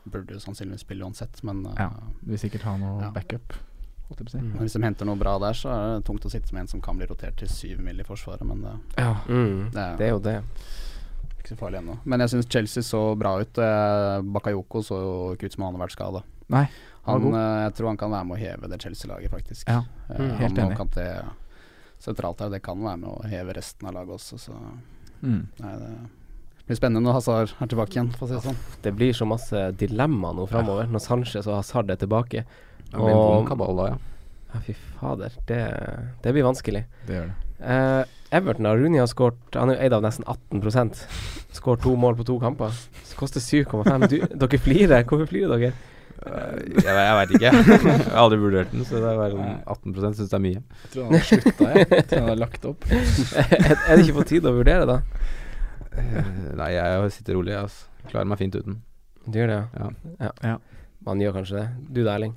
B: burde jo sannsynligvis spille uansett, men eh,
E: Ja. Du vil sikkert ha noe
B: Ja.
E: backup. holdt jeg på å si.
C: Mm.
B: hvis de henter noe bra der, så er det tungt å sitte med en som kan bli rotert til syv mil i forsvaret, men det,
C: Mm.
B: det er
C: Det er jo det.
B: ikke så farlig ennå. Men jeg syns Chelsea så bra ut. Eh, Bakayoko så jo ikke ut som han hadde vært skada.
E: Nei, han
B: Han,
E: var god.
B: eh, jeg tror han kan være med å heve det Chelsea-laget, faktisk.
E: Ja,
B: Eh,
C: mm,
B: han
E: helt
B: og
E: enig.
B: Kanté sentralt her, det kan være med å heve resten av laget også, så
E: Mm.
B: nei, det blir spennende når Hazard er tilbake igjen, for å si det sånn.
C: Det blir så masse dilemma nå framover, når Sanchez og Hazard er tilbake.
F: Det blir en vond kabal da, ja.
C: Ja, fy fader. Det, det blir vanskelig.
E: Det gjør det.
C: Eh, Everton har Rooney har skåret Han er jo eid av nesten 18 Skåret to mål på to kamper. Så koster 7,5. Du- Dere flirer. Hvorfor flirer dere?
F: Jeg, jeg veit ikke. Jeg har aldri vurdert den, så det er bare sånn 18 syns det er mye.
E: Jeg tror han har slutta, jeg. jeg. Tror han har lagt opp.
C: er, er det ikke på tide å vurdere, da?
F: Eh, Nei, jeg sitter rolig, jeg, altså. Klarer meg fint uten.
C: Du gjør det,
F: Ja.
C: ja.
E: Ja.
C: Man gjør kanskje det. Du da, Erling.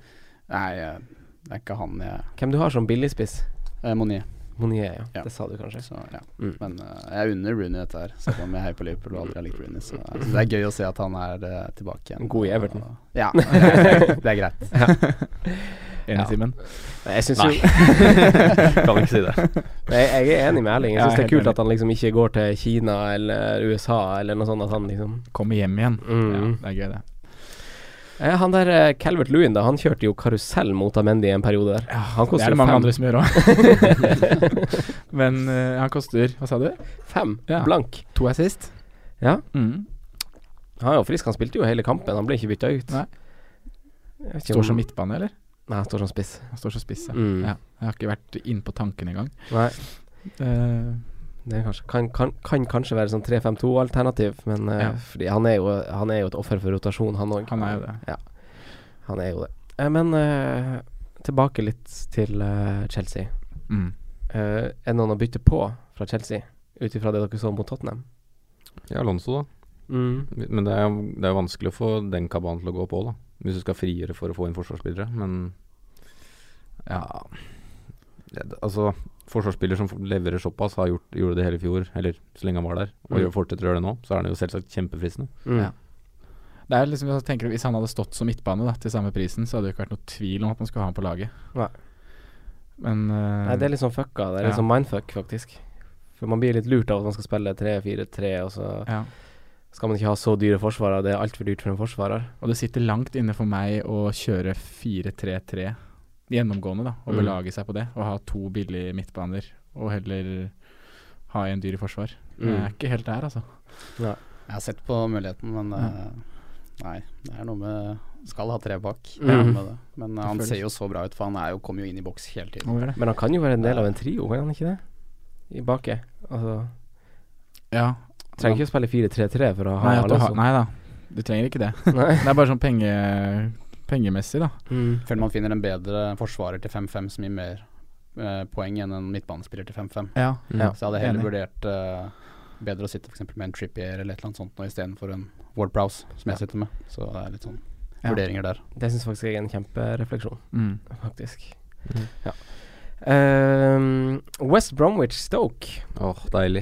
B: Nei, eh, det er ikke han jeg
C: Hvem du har som billigspiss?
B: eh, Monier.
C: Monier, ja.
B: Ja.
C: Det sa du kanskje.
B: Så, ja.
C: Mm.
B: Men eh, jeg unner Rooney dette her, selv om jeg heier på Liverpool og aldri har likt Rooney. Så jeg synes det er gøy å se at han er eh, tilbake igjen.
C: God i Everton.
B: Og- Ja, det er greit.
E: Enig, Simen?
C: Nei, Jeg syns
E: Nei.
C: jo
E: Kan ikke si det.
C: Nei, jeg er enig med Erling. Jeg
E: Ja,
C: syns det
E: helt
C: er kult
E: enig.
C: at han liksom ikke går til Kina eller USA eller noe sånt. At han liksom
E: Kommer hjem igjen. Ja,
C: Mm.
E: det er gøy, det.
C: Eh, Han der eh, Calvert Lewin, da, han kjørte jo karusell mot Amendi en periode der. Han
E: Det
C: koster
E: er det
C: jo
E: mange
C: fem.
E: andre som gjør òg. Men eh, han koster Hva sa du?
C: Fem,
E: Ja.
C: blank.
E: To assist.
C: Ja.
E: Mm.
C: Han er jo frisk, han spilte jo hele kampen. Han ble ikke bytta ut.
E: Nei.
C: Jeg vet ikke om-
E: Står som midtbane, eller?
C: Nei, han står som spiss.
E: Han står som spiss, ja.
C: Mm.
E: ja. Jeg har ikke vært inne på tanken engang.
C: Nei,
E: Eh,
C: det er kanskje, kan, kan, kan kanskje være sånn 3-5-2-alternativ, men eh,
E: Ja.
C: fordi han, er jo, han er jo et offer for rotasjon, han òg.
E: han er jo det.
C: Han er jo det. Eh, men eh, tilbake litt til eh, Chelsea.
E: Mm.
C: Eh, er det noen å bytte på fra Chelsea, ut ifra det dere så mot Tottenham?
F: Ja, Alonso, da.
C: Mm.
F: Men det er, jo- det er jo vanskelig å få den kabalen til å gå på, da. Hvis du skal frigjøre for å få inn forsvarsspillere, men Ja det, det- Altså, forsvarsspiller som leverer såpass, har gjort, gjorde det hele i fjor, eller så lenge han var der, og
C: Mm.
F: gjør fortsetter å gjøre det nå, så er han jo selvsagt kjempefristende.
C: Mm.
E: Ja. Det er liksom, jeg tenker at Hvis han hadde stått som midtbane da, til samme prisen, så hadde det ikke vært noe tvil om at man skulle ha han på laget.
C: Nei.
E: Men eh,
C: Nei, det er litt sånn fucka. Det er litt
E: Ja.
C: sånn mindfuck, faktisk. For man blir litt lurt av at man skal spille 3-4-3, og så
E: ja.
C: skal man ikke ha så dyre forsvarere. Det er altfor dyrt for en forsvarer.
E: Og det sitter langt inne for meg å kjøre 4-3-3 gjennomgående, da, og
C: Mm.
E: belage seg på det. Og ha to billige midtbaner, og heller ha en dyr i forsvar. Jeg er
C: Mm.
E: ikke helt der, altså.
B: Jeg har sett på muligheten, men eh, nei. Det er noe med Skal ha tre bak.
C: Mm.
B: det er noe Med det. Men eh, han
E: føles-
B: ser jo så bra ut, for han er jo, kommer jo inn i boks hele tiden.
E: Må gjøre det.
C: Men han kan jo være en del av en trio, kan han ikke det? I baki. Altså,
E: Ja.
C: trenger ikke å spille 4-3-3 for å ha
E: Nei, at du har,
C: Alonso.
E: nei da, du trenger ikke det.
C: Nei.
E: Det er bare sånn penge, pengemessig, da.
C: Mm.
B: Føler man finner en bedre forsvarer til 5-5 som gir mer eh, poeng enn en midtbanespiller til 5-5.
E: Ja.
C: Ja.
B: Mm. Så jeg hadde heller
E: Enig.
B: vurdert eh, bedre å sitte f.eks. med en Trippier eller et eller annet sånt nå istedenfor en Ward Prowse, som jeg sitter med. Så det er litt sånn
E: Ja.
B: vurderinger der.
C: Det syns faktisk jeg er en kjemperefleksjon,
E: Mm.
C: faktisk. Ja. Ehm, West Bromwich Stoke.
F: Åh, deilig.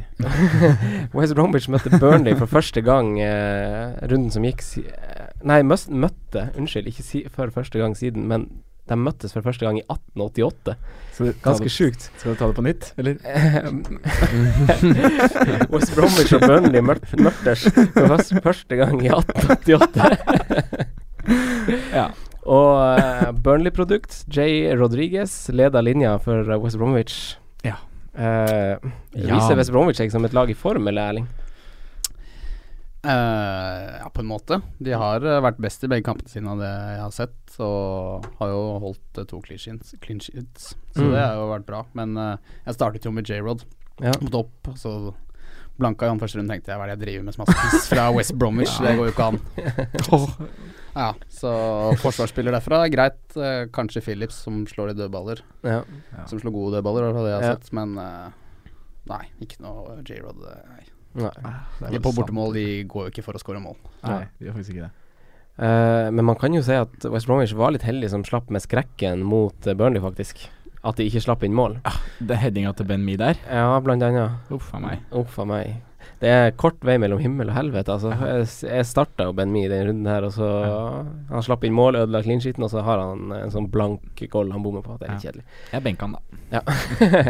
C: West Bromwich møtte Burnley for første gang eh, runden som gikk si, eh, Nei, møs- møtte, unnskyld, ikke si, for første gang siden, men de møttes for første gang i 1888.
E: Så ta
C: Ganske
E: det-
C: sjukt.
E: Skal du ta det på nytt, eller? Ehm.
C: West Bromwich og Burnley møt- møttes for først, første gang i 1888.
E: Ja.
C: Og eh, Burnley-produkt, Jay Rodriguez, leda linja for eh, West Bromwich.
E: Ja.
C: Eh,
E: Ja.
C: Viser West Bromwich seg som et lag i form, eller, Erling?
B: Eh, ja, på en måte. De har eh, vært best i begge kampene sine av det jeg har sett, og har jo holdt eh, to clean sheets, clean sheets. så
C: Mm.
B: det har jo vært bra. Men eh, jeg startet jo med J-Rod
C: Ja.
B: på topp, så blanka i han første runde tenkte jeg hva er det jeg driver med som aspis fra West Bromwich, det går jo ikke an. Ja, så forsvarsspiller derfra er greit. Eh, kanskje Phillips som slår de dødballer,
C: Ja.
B: som slår gode dødballer, det var det jeg har
C: Ja.
B: sett, men eh, nei, ikke noe J-Rod. eh,
C: Nei.
E: Det sånn.
B: De på bortemål de går jo ikke for å skåre mål.
E: Nei, de gjør faktisk ikke det.
C: Eh, men man kan jo si at West Bromwich var litt heldig som slapp med skrekken mot eh, Burnley, faktisk. At de ikke slapp inn mål.
E: Det er headinga til Ben Me der.
C: Ja, blant annet.
E: Uff a meg.
C: Uff a meg. Det er kort vei mellom himmel og helvete, altså. Jeg, s- jeg starta jo Ben Mee i den runden her, og så Han slapp inn mål, ødela clean sheeten, og så har han en sånn blank goal han bommer på. Det er litt
E: Ja.
C: kjedelig.
E: Jeg benka han, da.
C: Ja, ja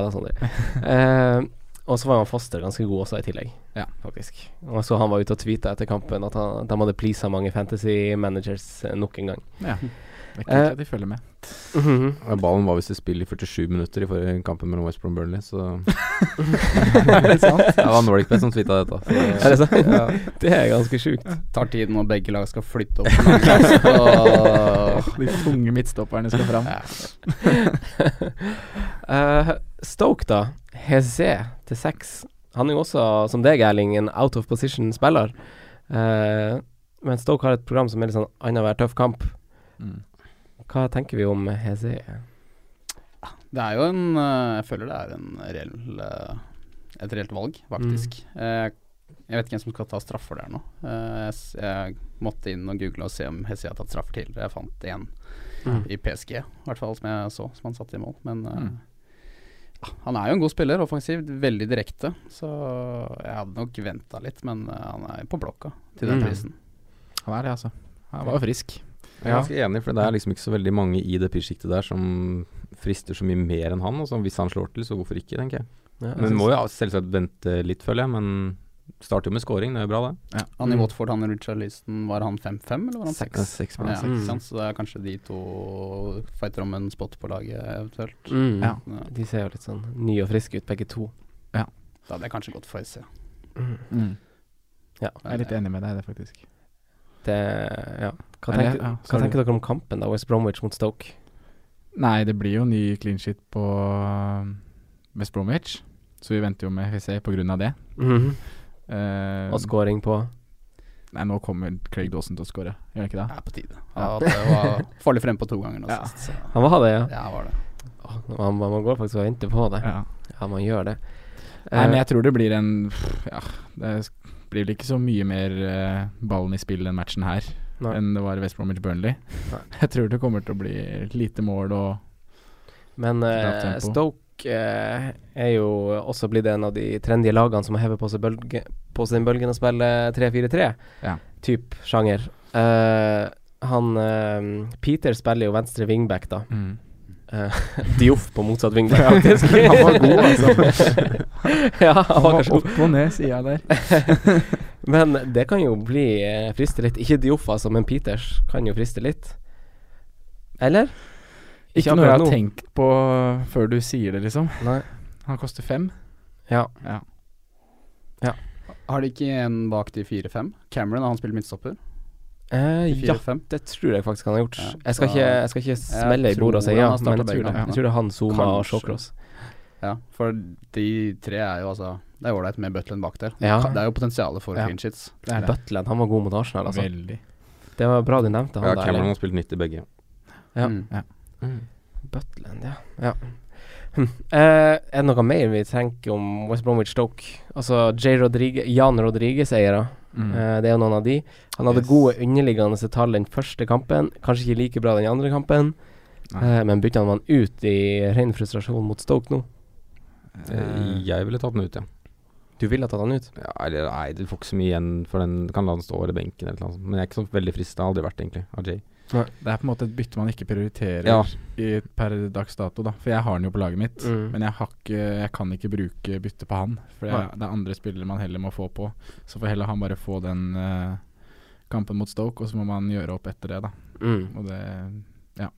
C: det er sånn det er. Eh, og så var jo han Foster ganske god også, i tillegg.
E: Ja.
C: faktisk. Og så han var ute og tweeta etter kampen at han, de hadde pleasa mange fantasy managers eh, nok en gang.
E: Ja. Det er
C: Eh.
E: kult at de følger med.
C: Mhm.
F: Ja, Ballen var visst i spill i 47 minutter i forrige kampen mellom West Brom og Burnley, så
E: er det sant?
F: Ja, det var Nordic Best som tweeta dette. så-
C: Er det sant? Det er ganske sjukt.
B: tar tid når begge lag skal flytte opp. på langkast, og-
E: De tunge midtstopperne skal fram.
B: Ja.
C: Eh, Stoke, da. Heze til seks. Han er jo også, som deg, Erling, en out of position-spiller. Eh, men Stoke har et program som er litt sånn annenhver tøff kamp.
E: Mm.
C: Hva tenker vi om Heze?
B: Det er jo en eh, Jeg føler det er en reell eh, et reelt valg, faktisk. Eh, Jeg vet ikke hvem som skal ta straffer der nå. Eh, Jeg, s- jeg måtte inn og google og se om Hesse har tatt straffer tidligere. Jeg fant én
C: Mm.
B: i PSG, i hvert fall som jeg så, som han satte i mål. Men eh,
E: Mm.
B: ja, han er jo en god spiller, offensiv, veldig direkte. Så jeg hadde nok venta litt, men eh, han er på blokka til den
C: Mm.
B: prisen.
E: Han er det, altså. Han var jo frisk.
F: Jeg er ganske enig, for det er liksom ikke så veldig mange i det prissjiktet der som frister så mye mer enn han. Og så hvis han slår til, så hvorfor ikke, tenker jeg.
C: Ja, jeg
F: men
C: synes-
F: må jo selvsagt vente litt, føler jeg. Men starter jo med scoring, det er jo bra, det.
B: Han i
F: Mm.
B: Watford, han Richarlison, var han 5-5 eller var han 6?
F: Ja, seks var han.
B: ja,
F: Mm.
B: ikke sant? Så det er kanskje de to fighter om en spot på laget eventuelt.
C: Mm.
B: Ja.
C: De ser jo litt sånn nye og friske ut, begge to.
B: Da hadde jeg kanskje gått for SC.
E: Mm.
C: Ja.
E: Jeg er litt enig med deg i det, faktisk.
C: Det, ja. Hva,
E: Er det-
C: tenker,
E: ja,
C: hva
E: sorry.
C: tenker dere om kampen, da? West Bromwich mot Stoke?
E: Nei, det blir jo ny clean sheet på um, West Bromwich, så vi venter jo med FSA på grunn av det.
C: Mhm.
E: Eh,
C: Og scoring på
E: Nei, nå kommer Craig Dawson til å score, gjør han ikke
B: Det
E: det?
B: er på tide. Ja, det var farlig fremme på to ganger nå
E: Ja.
B: sist. Så.
C: Han var det, ja.
B: Ja, var det.
C: Åh, Man, man man går faktisk og venter på det.
E: Ja. Eh,
C: Ja, man gjør det.
E: Nei, men
C: Eh,
E: jeg tror det blir en pff, Ja, det sk- blir vel ikke så mye mer eh, ballen i spill den matchen her
C: Nei.
E: enn det var West Bromwich Burnley.
C: Nei.
E: Jeg tror det kommer til å bli lite mål og
C: Men eh,
E: Lavt tempo.
C: Stoke eh, er jo også blitt en av de trendy lagene som hever på seg, bølge, på seg den bølgen og spiller 3-4-3.
E: Ja.
C: Typ sjanger. Eh, han eh, Peter spiller jo venstre wingback, da.
E: Mm.
C: Eh, Dioff på motsatt wingback, faktisk.
E: Han var god, altså.
C: ja, han var
E: Han var
C: kanskje god.
E: opp og ned sida der.
C: Men det kan jo bli eh, friste litt. Ikke Dioff, altså, men Peters kan jo friste litt. Eller?
E: Ikke noe jeg
C: akkurat
E: har
C: nå.
E: tenkt på før du sier det, liksom.
C: Nei.
E: Han koster fem.
C: Ja.
E: Ja.
B: Har de ikke en bak de 4-5? Cameron, han spiller midtstopper.
C: Eh,
B: De
C: ja,
B: 4-5.
C: det tror jeg faktisk han har gjort.
B: Ja,
C: jeg, skal
B: så-
C: ikke, jeg skal ikke smelle i
B: tror
C: bordet og si
B: han
C: ja,
B: har
C: men jeg
B: startet
C: tror,
B: begge
C: det,
B: kampene.
C: jeg tror det er han, Zuma og
B: Kanskje.
C: Shawcross.
B: Ja, for de tre er jo altså Det er ålreit med Butland bak der.
C: Ja.
B: Det er jo potensialet for
E: Ja.
B: clean sheets.
C: Butland, han var god mot Arsenal, altså.
E: Veldig.
C: Det var bra du nevnte han
F: Ja,
C: der.
F: Cameron
C: Erling.
F: har spilt nytt i begge.
C: Ja.
B: Mm.
C: Butland, ja. ja. Hm. Eh, er det noe mer vi tenker om West Bromwich Stoke? Altså J. Rodriguez, Jan Rodriguez-eiere.
E: Mm.
C: Eh, det er jo noen av de. Han hadde
E: Yes.
C: gode underliggende tall den første kampen, kanskje ikke like bra den andre kampen.
E: Nei.
C: Eh, men bytta han han ut i ren frustrasjon mot Stoke nå?
F: Eh, Jeg ville tatt den ut, ja.
C: Du ville tatt han ut?
F: ja eller nei, du får ikke så mye igjen for den. Du kan la den stå over i benken eller noe sånt. Men jeg er ikke så veldig frista. Aldri vært, egentlig, av Jay.
E: Det er på en måte et bytte man ikke prioriterer
F: Ja.
E: i, per dags dato, da. For jeg har den jo på laget mitt,
C: Mm.
E: men jeg, har ikke, jeg kan ikke bruke bytte på han. For jeg,
C: Nei.
E: det er andre spillere man heller må få på. Så får heller han bare få den eh, kampen mot Stoke, og så må man gjøre opp etter det, da.
C: Mm.
E: Og det Ja.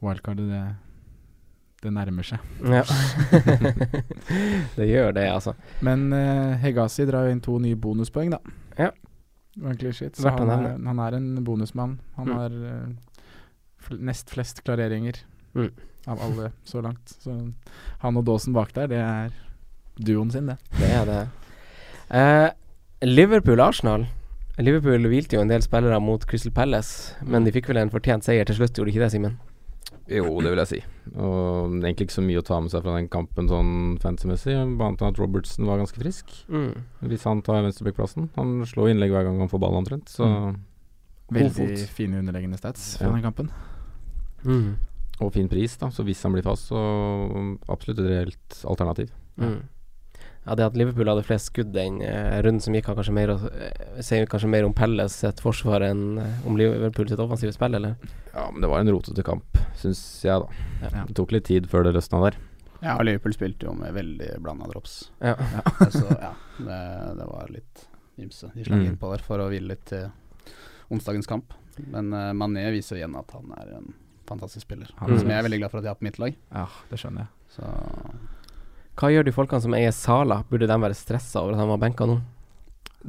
E: Wildcardet, det, det nærmer seg.
C: Ja. det gjør det, altså.
E: Men eh, Hegasi drar jo inn to nye bonuspoeng, da.
C: Ja.
E: Det var egentlig shit. Så
C: Verdt å
E: han, er,
C: nevne.
E: han er en bonusmann. Han
C: Mm.
E: har eh, fl nest flest klareringer
C: Mm.
E: av alle så langt. Så han og Dawson bak der, det er duoen sin, det.
C: Det er det. Eh, Liverpool-Arsenal. Liverpool hvilte jo en del spillere mot Crystal Palace, men de fikk vel en fortjent seier til slutt, gjorde de ikke det, Simen?
F: Jo, det vil jeg si. Og det er egentlig ikke så mye å ta med seg fra den kampen sånn fancy-messig. Bare annet enn at Robertsen var ganske frisk.
C: Mm.
F: Hvis han tar venstrebackplassen. Han slår innlegg hver gang han får ball, omtrent. Så
E: Veldig
F: fot.
E: fine underleggende stats fra
F: Ja.
E: den kampen.
C: Mm.
F: Og fin pris, da. Så hvis han blir fast, så absolutt et reelt alternativ.
C: Mm. Ja, det at Liverpool hadde flest skudd den eh, runden som gikk, har kanskje mer å eh, sier kanskje mer om Palace sitt forsvar enn eh, om Liverpool sitt offensive spill, eller?
F: Ja, men det var en rotete kamp, syns jeg, da.
C: Ja.
F: Det tok litt tid før det løsna der.
B: Ja, Liverpool spilte jo med veldig blanda drops.
C: Ja.
B: Så ja, det, det var litt ymse de slang
F: Mm.
B: innpå der for å hvile litt til onsdagens kamp. Men eh, Mané viser jo igjen at han er en fantastisk spiller.
E: Han er
B: Som jeg er
E: best.
B: veldig glad for at jeg har på mitt lag.
E: Ja, det skjønner jeg.
B: Så
C: Hva gjør de folkene som eier Sala? Burde de være stressa over at han var benka nå?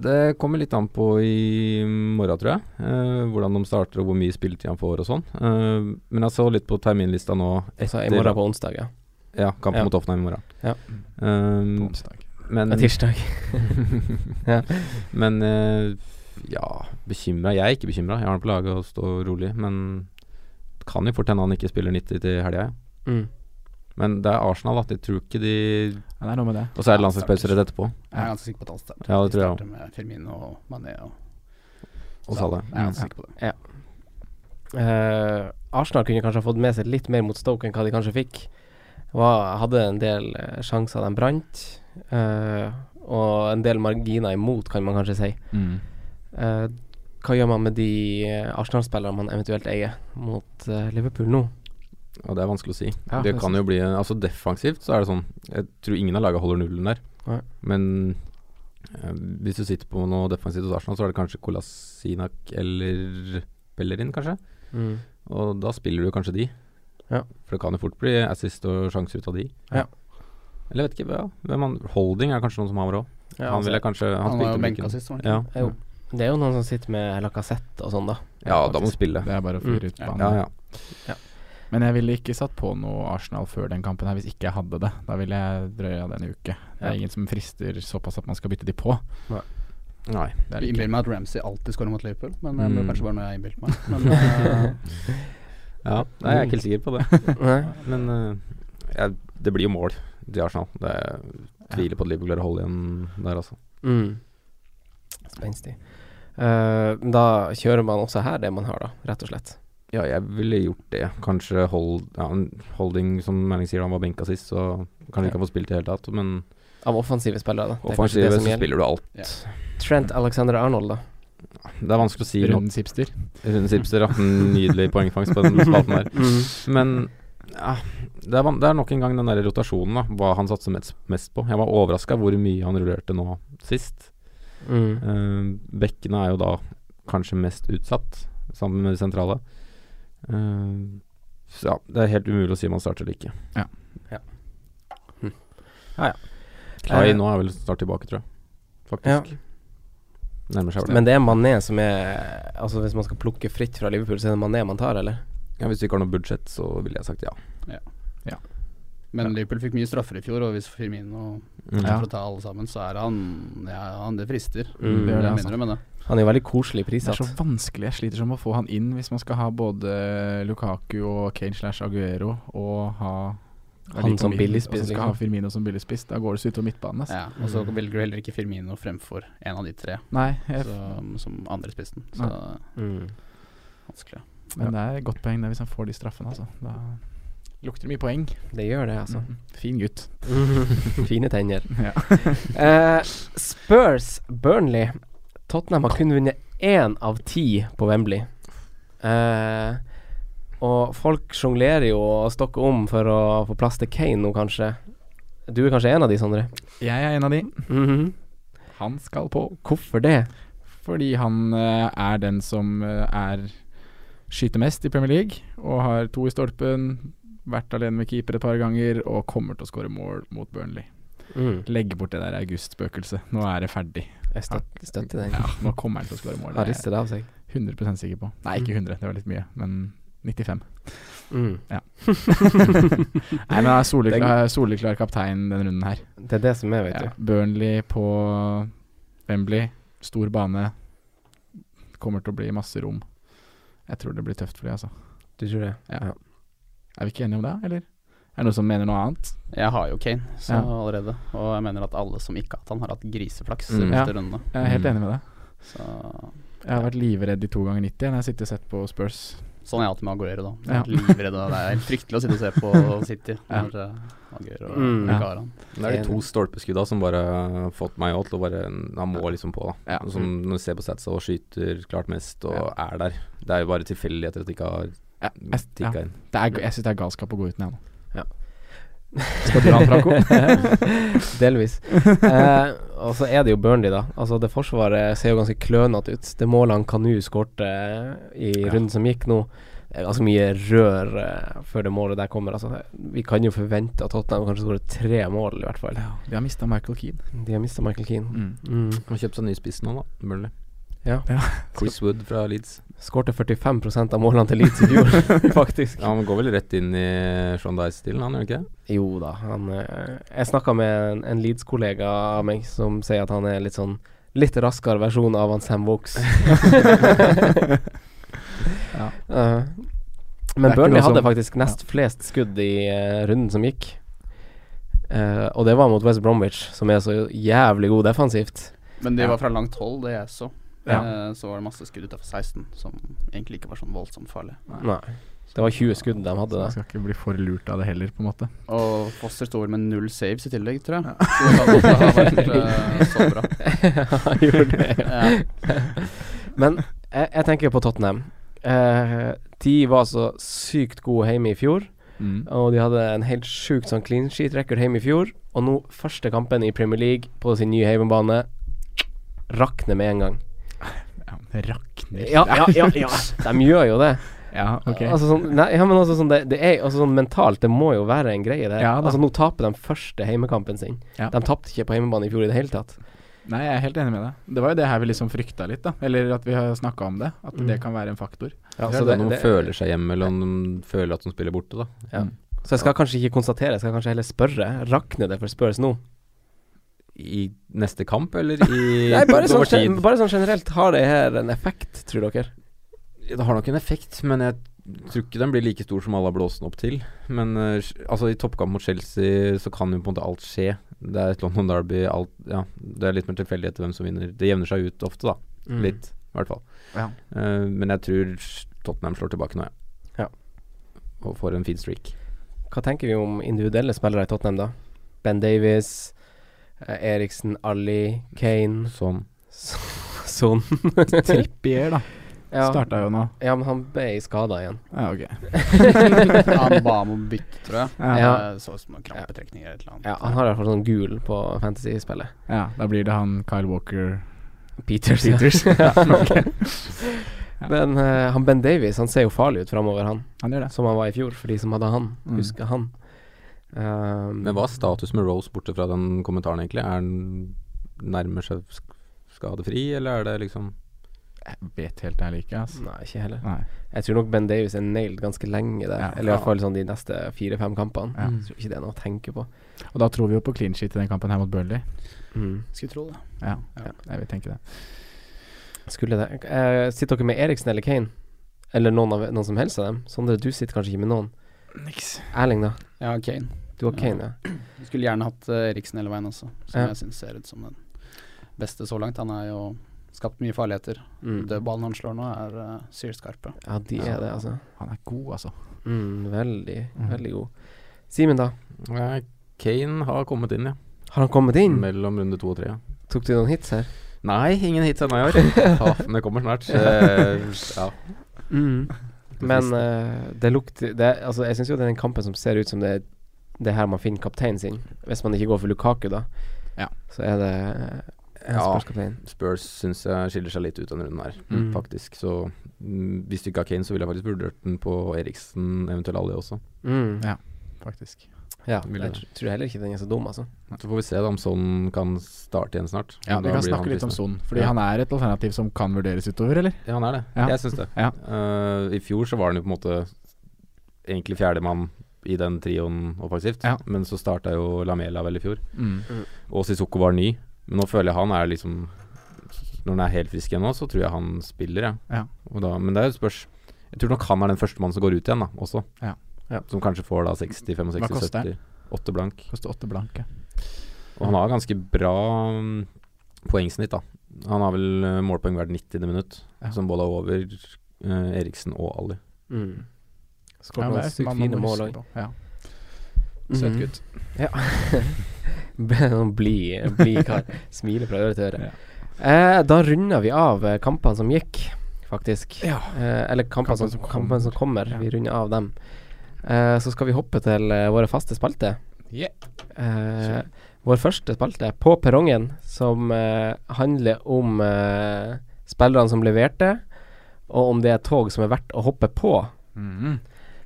F: Det kommer litt an på i morgen, tror jeg. Eh, hvordan de starter og hvor mye spilletid han får og sånn. Eh, men jeg så litt på terminlista nå
C: Altså i
F: Etter-
C: morgen på onsdag, ja.
F: Ja, kampen
C: Ja.
F: mot Hoffenheim i morgen.
C: Ja.
F: Eh,
E: På onsdag.
F: men
C: Det er tirsdag. Ja.
F: men eh, ja, bekymra Jeg er ikke bekymra. Jeg har han på laget og står rolig. Men det kan jo fort hende han ikke spiller 90 til helga. ja.
C: Mm.
F: Men det er Arsenal, at jeg tror ikke de
E: Ja, det er noe med det.
F: Og så er det landslagspause rett etterpå.
B: jeg er ganske sikker på at alt starter.
F: Ja, det tror jeg
B: De starter med Firmino og Mané og,
F: Og Salah. Mm.
B: Jeg er ganske sikker på det.
C: Eh, Arsenal kunne kanskje ha fått med seg litt mer mot Stoke enn hva de kanskje fikk. Var, hadde en del eh, sjanser de brant, eh, og en del marginer imot, kan man kanskje si. Eh, hva gjør man med de eh, Arsenal-spillerne man eventuelt eier mot eh, Liverpool nå?
F: Og det er vanskelig å si.
C: Ja,
F: det
C: det er
F: kan jo bli Altså defensivt så er det sånn Jeg tror ingen av lagene holder nullen der.
C: Nei.
F: Men eh, hvis du sitter på noe defensivt hos Arsenal, så er det kanskje Kolasinak eller Bellerin, kanskje.
C: Mm.
F: Og da spiller du kanskje de.
C: Ja.
F: For det kan jo fort bli assist og sjanser ut av de.
C: Ja.
F: Eller jeg vet ikke, ja, hvem han Holding er kanskje noen som har råd.
C: Ja,
F: han
C: altså,
F: ville kanskje Han,
B: han var
F: spilte
B: jo
F: på
B: benka
F: benken.
B: sist, var han
F: ja.
B: ikke?
C: Jo. Det er jo noen som sitter med Lacassette og sånn, da.
F: ja, da må du spille.
E: Det er bare å
C: Mm.
E: fyre ut banen.
F: Ja, ja.
E: Men jeg ville ikke satt på noe Arsenal før den kampen her hvis ikke jeg hadde det. Da ville jeg drøya den i uke. Det
C: Ja.
E: er ingen som frister såpass at man skal bytte de på.
F: Nei.
E: Det er
B: Jeg
E: det ikke.
B: innbiller meg at Ramsey alltid scorer mot Liverpool, men det
F: Mm.
B: er kanskje bare noe jeg innbilte meg. Men, eh,
F: Ja, nei, jeg er ikke helt sikker på det.
C: Nei.
F: Men eh, jeg, det blir jo mål til Arsenal. Det er, jeg tviler på at Liverpool klarer å holde igjen der, altså.
C: Mm. Spenstig. Eh, da kjører man også her det man har, da, rett og slett.
F: Ja, jeg ville gjort det. Kanskje hold, ja, en holding, som Manning sier, han var benka sist, så kanskje ikke han får spilt i det hele tatt. Men
C: Av offensive spillere, da. Det er kanskje
F: offensivt
C: det
F: så
C: som gjelder.
F: spiller du alt.
C: Trent Alexander Arnold, da.
F: Det er vanskelig å si noe.
E: Runden Sipster.
F: Rune Sipser har en nydelig poengfangst på den spalten der.
C: Mm.
F: Men ja, det, er, van- det er nok en gang den der rotasjonen, da. Hva han satser mest, mest på. Jeg var overraska hvor mye han rullerte nå sist.
C: Mm.
F: Eh, bekkene er jo da kanskje mest utsatt, sammen med de sentrale. Eh, så ja, det er helt umulig å si om han starter eller ikke. Kai
C: Eh,
F: nå er vel snart tilbake, tror jeg. Faktisk. Nærmer seg vel det.
C: Men det er Mané som er Altså Hvis man skal plukke fritt fra Liverpool, så er det Mané man tar, eller?
F: Ja, hvis du ikke har noe budsjett, så ville jeg sagt ja.
B: men Liverpool fikk mye straffer i fjor, og hvis Firmino
F: Ja.
B: for å ta alle sammen, så er han ja, han det frister.
C: Mm,
E: det gjør
B: jeg
E: det,
B: mener det, men det.
C: Han er jo veldig koselig
E: Det
C: prissatt.
E: er så vanskelig. Jeg sliter som å få han inn hvis man skal ha både Lukaku og Kane slash Aguero og ha
C: Han som billigspiss,
E: Og så skal
C: liksom.
E: ha Firmino som billigspiss. Da går det så utover midtbanen. altså. ass.
B: Ja, og så velger du heller ikke Firmino fremfor en av de tre
E: Nei, jeg,
B: som, som andrespissen. Så
C: Mm.
B: vanskelig.
E: men det er et godt poeng det hvis han får de straffene, altså. Da lukter det mye poeng.
C: Det gjør det, altså.
E: Fin gutt.
C: Fine tenner.
E: Ja.
C: Eh, Spurs, Burnley Tottenham har kun vunnet én av ti på Wembley. Eh, og folk sjonglerer jo og stokker om for å få plass til Kane nå, kanskje. Du er kanskje en av de, Sondre?
E: Jeg er en av de.
C: Mhm.
E: Han skal på.
C: Hvorfor det?
E: Fordi han eh, er den som eh, er skyter mest i Premier League, og har to i stolpen, vært alene med keeper et par ganger, og kommer til å skåre mål mot Burnley.
C: Mm.
E: Legg bort det der august-spøkelset. Nå er det ferdig.
C: Jeg støt- støtter den.
E: Ja, nå kommer han til å skåre mål.
C: Har
E: Det
C: ristet det av seg.
E: er jeg 100 sikker på. Nei, ikke 100, det var litt mye, men 95.
C: Mm.
E: Nei, men han er
C: Den-
E: soleklar, soleklar kaptein denne runden her.
C: Det er det som er, vet
E: Ja. Burnley på Wembley, stor bane. Kommer til å bli masse rom. Jeg tror det blir tøft for de, altså.
C: du. Du tror det?
E: Ja. Er vi ikke enige om det, eller? Er det noen som mener noe annet?
B: Jeg har jo Kane så
E: Ja.
B: allerede, og jeg mener at alle som ikke har hatt han, har hatt griseflaks
F: Mm.
B: i
E: Ja.
B: neste runde.
E: Jeg er helt
F: Mm.
E: enig med deg.
B: Så,
E: Jeg har vært livredd i to ganger 90 når jeg har sittet og sett på Spurs.
B: sånn er jeg alltid med Aguero, da. Jeg
E: Ja.
B: er Livredd av det. Det er fryktelig å sitte og se på City når eh, Aguero
C: Mm.
B: ikke har han.
F: Det er de to stolpeskudda som bare har fått meg òg til å bare Han må liksom på, da.
E: Ja.
F: Som når du ser på Satsa og skyter klart mest og er der. Det er jo bare tilfeldigheter at de ikke har
E: Ja, jeg, ja.
F: tikka inn.
E: Det er, jeg syns det er galskap å gå uten, jeg nå.
C: Ja.
E: Skal du ha en Franco?
C: Delvis. Eh, og så er det jo Burnley, da. Altså Det forsvaret ser jo ganske klønete ut. Det målet han Kanu skårte i runden som gikk nå Det er ganske mye rør eh, før det målet der kommer. Altså Vi kan jo forvente at Tottenham kanskje skårer tre mål, i hvert fall.
E: De har mista Michael Keane.
C: De har mista Michael Keane. Mm.
F: Må kjøpe seg ny spiss nå, da. Burnley.
C: Ja.
E: Ja.
F: Chris Wood fra Leeds.
C: Skårte 45 av målene til Leeds i fjor, faktisk.
F: Ja, han går vel rett inn i Sean Dice-stilen, han gjør han ikke det?
C: Jo da, han eh, Jeg snakka med en, en Leeds-kollega av meg som sier at han er litt sånn Litt raskere versjon av han Sam Vokes. Eh,
E: Det er
C: men
E: ikke
C: Burnley
E: noe som-
C: hadde faktisk nest flest skudd i eh, runden som gikk. Eh, og det var mot West Bromwich, som er så jævlig god defensivt.
B: Men de
E: Ja.
B: var fra langt hold, det jeg så.
E: Ja.
B: Eh, Så var det masse skudd utafor 16 som egentlig ikke var sånn voldsomt farlig.
C: Nei. Det var 20 skudd de hadde
E: Så
C: da.
E: jeg skal ikke bli for lurt av det heller, på en måte.
B: Og Foster sto vel med null saves i tillegg, tror jeg. Så det kan også ha vært eh, så bra.
C: Han gjorde det.
B: Ja.
C: Men eh, Jeg, jeg tenker på Tottenham. Eh, de var så sykt gode hjemme i fjor.
E: Mm.
C: Og de hadde en helt sjukt sånn clean sheet-record hjemme i fjor. Og nå, første kampen i Premier League på sin nye hjemmebane, rakner med en gang.
E: Rakner
C: Ja, ja, ja, ja. De gjør jo det.
E: Ja, ok.
C: Altså sånn, nei, ja, men altså sånn det, det er altså sånn mentalt, det må jo være en greie der.
E: Ja da.
C: altså Nå taper de første heimekampen sin.
E: Ja.
C: De tapte ikke på hjemmebane i fjor i det hele tatt.
E: Nei, jeg er helt enig med deg. Det var jo det her vi liksom frykta litt, da. Eller at vi har snakka om det. At det kan være en faktor.
F: Ja, så Altså, det, når man føler seg hjemme, eller om de føler at de spiller borte, da.
C: Ja. Så jeg skal kanskje ikke konstatere, jeg skal kanskje heller spørre. Rakner det for Spurs nå?
F: I neste kamp, eller i
C: Nei, bare sånn,
F: over tid?
C: gen- bare sånn generelt, har det her en effekt, tror dere?
F: Det har nok en effekt, men jeg tror ikke den blir like stor som alle har blåst den opp til. Men eh, altså, i toppkamp mot Chelsea så kan jo på en måte alt skje. Det er et London Derby, alt Ja, det er litt mer tilfeldighet til hvem som vinner. Det jevner seg ut ofte, da.
C: Mm.
F: Litt, i hvert fall.
E: Ja.
F: Eh, men jeg tror Tottenham slår tilbake nå, ja.
C: Ja.
F: Og får en fin streak.
C: Hva tenker vi om individuelle spillere i Tottenham, da? Ben Davies, eh, Eriksen, Ali, Kane
F: Sånn.
C: Son.
E: Trippier, da.
C: Ja.
E: Starta jo nå.
C: Ja, men han ble skada igjen.
E: Ja, ok.
B: Han ba om å bytte, tror jeg.
E: Ja.
C: Ja.
B: Det så ut som noen krampetrekninger eller et eller annet. eh,
C: Ja, han har i hvert fall sånn gul på fantasy-spillet.
E: ja, da blir det han Kyle Walker
C: Peters. ja.
E: Peters.
C: Men eh, han Ben Davies han ser jo farlig ut framover, han.
E: Han gjør det.
C: Som han var i fjor, for de som hadde han.
E: Mm.
C: Husker han. Um,
F: Men hva er status med Rose borte fra den kommentaren, egentlig? Er han nærmer seg sk- skadefri, eller er det liksom
E: Jeg vet helt ærlig ikke, ass.
C: Nei, ikke heller.
E: Nei.
C: Jeg tror nok Ben Davies er nailed ganske lenge der.
E: Ja.
C: Eller i hvert fall sånn de neste fire-fem kampene.
E: Ja.
C: Jeg tror ikke det er noe å tenke på.
E: Og da tror vi jo på clean sheet i den kampen her mot Burnley.
C: Mm.
B: Skulle tro det.
E: Ja,
B: Ja.
E: jeg vil tenke det.
C: Skulle det eh, Sitter dere med Eriksen eller Kane? Eller noen, av, noen som helst av dem? Sondre, du sitter kanskje ikke med noen.
E: Niks.
C: Erling, da?
B: Ja, Kane.
C: Du har Kane, ja.
B: Vi skulle gjerne hatt eh, Eriksen hele veien også, som
C: Ja.
B: jeg syns ser ut som den beste så langt. Han er jo skapt mye farligheter.
C: Mm.
B: Dødballen han slår nå, er uh, sylskarpe.
C: Ja, de er det, altså.
E: Han er god, altså.
C: Mm, veldig,
E: Mm.
C: veldig god. Simen, da?
F: Nei, Kane har kommet inn, ja.
C: Har han kommet inn?
F: Mellom runde to og tre. Ja.
C: Tok du noen hits her?
F: Nei, ingen hits ennå i år. Ja, men det kommer snart. Eh, ja.
E: Mm.
C: Men eh, det lukter det, Altså, jeg syns jo det er den kampen som ser ut som det er det her man finner kapteinen sin. Hvis man ikke går for Lukaku, da,
E: Ja.
C: så er det eh,
F: Ja.
C: Spurs kaptein.
F: Spurs syns jeg skiller seg litt ut denne runden her,
C: Mm.
F: faktisk. Så mm, hvis du ikke har Kane, så ville jeg faktisk vurdert den på Eriksen, eventuelt alle også.
C: Mm.
E: Ja. faktisk.
C: Ja,
F: Vil
C: jeg
F: jeg.
C: tr- tror heller ikke den er så dum, altså.
F: Så får vi se da om sånn kan starte igjen snart.
E: Ja,
F: Da
E: Vi kan
F: blir han
E: snakke litt om
F: fristende.
E: Son, fordi
F: Ja.
E: han er et alternativ som kan vurderes utover, eller?
F: Ja, han er det.
E: Ja.
F: Jeg syns det.
E: Ja.
F: Eh, I fjor så var han jo på en måte egentlig fjerdemann i den trioen offensivt,
E: Ja.
F: men så starta jo Lamela vel i fjor.
E: Mm.
F: Og Sissoko var ny, men nå føler jeg han er liksom Når han er helt frisk igjen nå, så tror jeg han spiller, jeg.
E: Ja.
F: Og da, men det er jo et spørs Jeg tror nok han er den førstemann som går ut igjen, da, også.
E: Ja.
C: Ja.
F: Som kanskje får da 60, 65,
E: Hva koster
F: 70. 8 blank.
E: Koster åtte blanke.
F: Og han har ganske bra mm, poengsnitt, da. Han har vel eh, målpoeng hvert 90. minutt,
E: Ja.
F: som både er over eh, Eriksen og Ali.
C: Mm.
E: Ja,
C: Skåret
E: det
C: noen
E: er-
C: sykt
E: man må
C: fine mål Mhm.
E: huske
C: òg.
E: på. Ja. Søt gutt.
C: Ja. Sånn blid blid kar. Smiler fra øre til øre.
E: Ja.
C: Eh, da runder vi av eh, kampene som gikk, faktisk.
E: Ja.
C: Eh, eller kampene som,
E: Kampene som kommer.
C: kampene som kommer. Vi runder av dem. Eh, så skal vi hoppe til eh, våre faste spalte.
E: Yeah.
C: Eh, vår første spalte, På perrongen, som eh, handler om eh, spillerne som leverte, og om det er tog som er verdt å hoppe på.
E: Mm.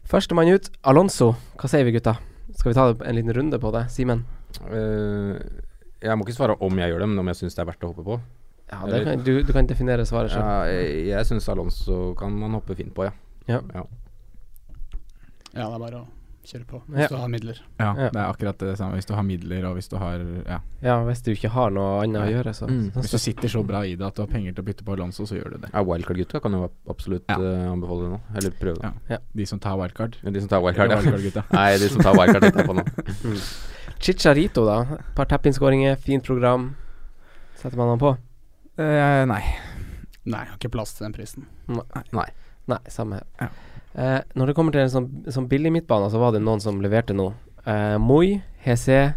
C: Førstemann ut, Alonso. Hva sier vi, gutta? Skal vi ta en liten runde på det? Simen?
F: Eh, jeg må ikke svare om jeg gjør det, men om jeg syns det er verdt å hoppe på.
C: Ja, det kan, du, du kan definere svaret sjøl.
F: Ja, jeg jeg syns Alonso kan man hoppe fint på, ja.
C: Ja.
B: Ja, det er bare å kjøre på
C: Ja.
B: hvis du har midler.
E: Ja,
C: Ja.
E: det er akkurat det samme. Hvis du har midler, og hvis du har ja.
C: Ja, hvis du ikke har noe annet å gjøre, så,
F: Mm.
C: så,
E: altså. Hvis du sitter så bra i det at du har penger til å bytte på Alonso, så gjør du det.
F: ja Wildcard-gutta kan jo ab- absolutt
E: Ja.
F: eh, anbefale det nå. Eller prøve det.
E: De som tar wildcard.
F: Men De som tar wildcard, ja.
E: gutta.
F: Nei, de som tar wildcard, tenkte jeg på nå.
C: Chicharito, da. Et par tappinskåringer, fint program. Setter man han på?
E: Eh, nei.
B: Nei, jeg har ikke plass til den prisen.
C: Nei, samme her.
E: Ja.
C: Eh, når det kommer til en sånn, sånn billig midtbane, så var det noen som leverte noe. Eh, Moi, Hese,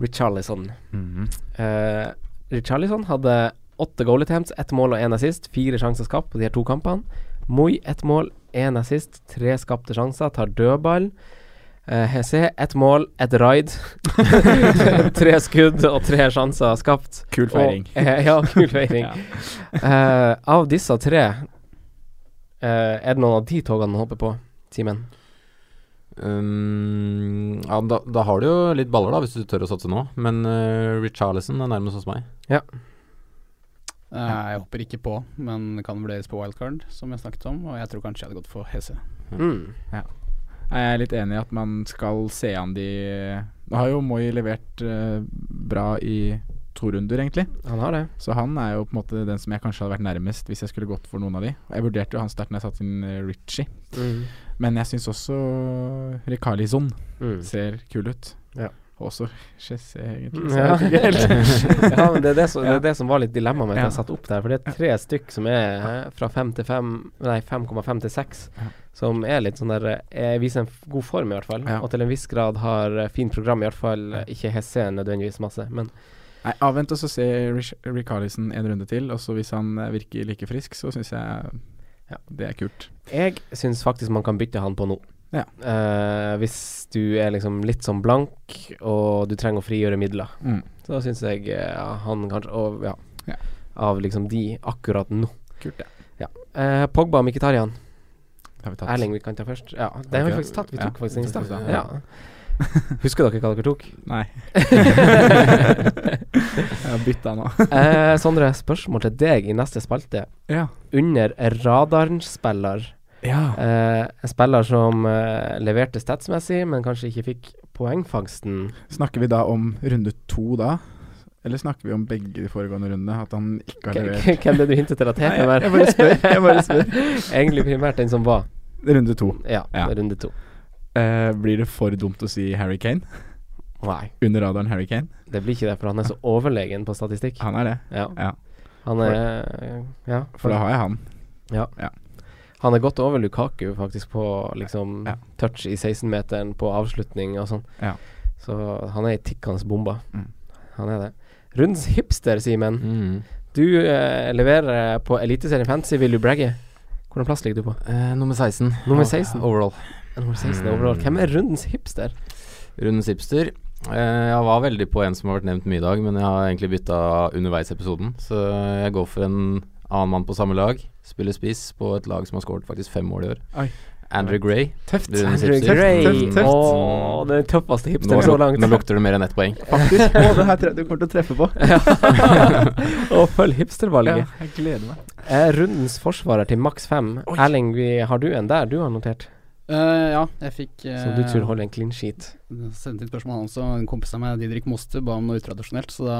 C: Richarlison.
E: Mhm.
C: Eh, Richarlison hadde Åtte goal attempts, ett mål og én assist. Fire sjanser skapt på de her to kampene. Moi ett mål, én assist, tre skapte sjanser, tar dødball. Eh, Hesse ett mål, ett raid. tre skudd og tre sjanser skapt.
E: Kul feiring.
C: Og, eh, ja, kul feiring.
E: Ja.
C: Eh, av disse tre, eh, er det noen av de togene man hopper på, Simen?
F: Um, ja, da, da har du jo litt baller, da, hvis du tør å satse nå. Men uh, Richarlison er nærmest hos meg.
B: Eh, Jeg hopper ikke på, men det kan vurderes på wildcard, som jeg snakket om. Og jeg tror kanskje jeg hadde gått for Hesse.
C: Mm.
E: Nei, Jeg er litt enig i at man skal se an de Nå har jo Moi levert eh, bra i to runder, egentlig.
C: Han har det.
E: Så han er jo på en måte den som jeg kanskje hadde vært nærmest hvis jeg skulle gått for noen av de. Jeg vurderte jo han sterkt når jeg satte inn eh, Ritchie,
C: Mm.
E: men jeg syns også Rikarlison
C: Mm.
E: ser kul ut.
C: Ja.
E: Også Chessé, egentlig. Så jeg
C: Ja.
E: vet ikke helt.
C: ja, men det er det, som, det
E: Ja.
C: er det som var litt dilemmaet med at
E: Ja.
C: jeg satte opp der. For det er tre stykk som er eh, fra 5 til 5 Nei, 5,5 til 6,
E: Ja.
C: som er litt sånn der eh, Viser en f- god form, i hvert fall.
E: Ja.
C: Og til en viss grad har eh, fint program, i hvert fall. eh, Ikke Hesse nødvendigvis masse, men
E: Nei, avvent og så se Rikarlison en runde til, og så hvis han eh, virker like frisk, så syns jeg
C: Ja.
E: det er kult.
C: jeg syns faktisk man kan bytte han på nå.
E: Ja.
C: Eh, hvis du er liksom litt sånn blank, og du trenger å frigjøre midler.
E: Mm.
C: Så da syns jeg eh, han kanskje og, ja,
E: Ja.
C: Av liksom de akkurat nå.
E: Kult, ja.
C: Eh, Pogba og Mkhitaryan.
E: Det har vi tatt.
C: Erling vi kan ta først. Ja, den har vi
E: Ok.
C: faktisk tatt. Vi tok
E: Ja,
C: faktisk den i
E: vi tok
C: stad.
E: den,
C: Ja. Husker dere hva dere tok?
E: Nei. jeg har bytta nå.
C: Eh, Sondre, spørsmål til deg i neste spalte.
E: Ja.
C: Under radaren-spiller.
E: ja.
C: Eh, en spiller som eh, leverte statsmessig, men kanskje ikke fikk poengfangsten.
E: Snakker vi da om runde to da? Eller snakker vi om begge de foregående rundene? At han ikke har
C: K-
E: levert
C: k- Hvem er det du hintet til at heter
E: Nei, jeg- jeg bare spør, jeg bare
C: Egentlig primært den som var.
E: runde to?
C: Ja,
E: Ja.
C: runde to.
E: Eh, blir det for dumt å si Harry Kane?
C: Nei,
E: Under radaren Harry Kane?
C: det blir ikke det, for han er så overlegen på statistikk.
E: Han er det.
C: Ja.
E: Ja.
C: Han er Ja.
E: For da har jeg han.
C: Han er godt over Lukaku faktisk på liksom
E: Ja.
C: touch i 16-meteren på avslutning og sånn.
E: Ja.
C: Så han er ei tikkende bombe.
E: Mm.
C: Han er det. Rundens hipster, Simen.
F: Mm.
C: Du eh, leverer på Eliteserien Fantasy, vil du bragge? Hvilken plass ligger du på?
F: Eh, nummer 16.
C: Nummer
F: O-
C: 16.
F: Overall.
C: Nummer 16
F: Mm.
C: overall. Hvem er rundens hipster?
F: Rundens hipster. Eh, jeg var veldig på en som har vært nevnt mye i dag, men jeg har egentlig bytta underveis i episoden. Så jeg går for en annen mann på samme lag. Spiller spiss på et lag som har skåret faktisk fem mål i år.
E: Oi.
F: Andrew Gray.
E: Tøft.
F: Rundens
C: Andrew
F: hipster.
C: Gray.
E: tøft, tøft.
C: Åh, den tøffeste
F: Nå,
C: hipsteren så langt.
F: nå lukter det mer enn ett poeng.
E: Faktisk. Å, det her tror jeg du kommer til å treffe på.
C: Og følg hipstervalget.
E: jeg gleder meg.
C: Eh, rundens forsvarer til maks fem. Erling, vi, har du en der du har notert?
B: Eh, ja, jeg fikk eh,
C: Som du tror holder en clean sheet?
B: sendte inn spørsmål han også. En kompis av meg, Didrik Moste, ba om noe utradisjonelt, så da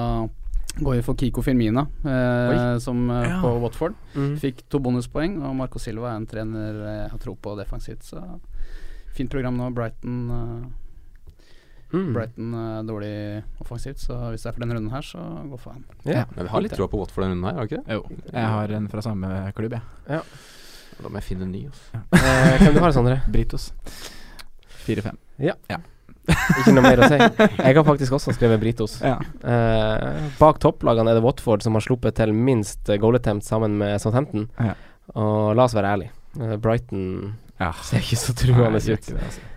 B: går vi for Kiko Firmina eh, som eh,
E: Ja.
B: på Watford.
C: Mm.
B: Fikk to bonuspoeng, og Marco Silva er en trener eh, jeg har tro på defensivt, så fint program nå. Brighton eh,
C: Mm.
B: Brighton er dårlig offensivt, så hvis det er for denne runden her, så gå for han.
C: Ja.
F: Men vi har litt tråd på Watford denne runden her, har vi ikke det?
E: Jo. Jeg har en fra samme klubb, jeg.
F: Da må jeg finne en ny. Altså.
C: Eh, hvem du har, Sondre?
E: Britos. 4-5.
C: Ikke noe mer å si. Jeg har faktisk også skrevet Britos.
E: Ja.
C: Eh, bak topplagene er det Watford som har sluppet til minst goal attempt sammen med Southampton.
E: Ja.
C: Og la oss være ærlig eh, Brighton
E: Ja.
C: ser ikke så
E: Nei,
C: truende
E: det gjør
C: ut.
E: ikke det, altså.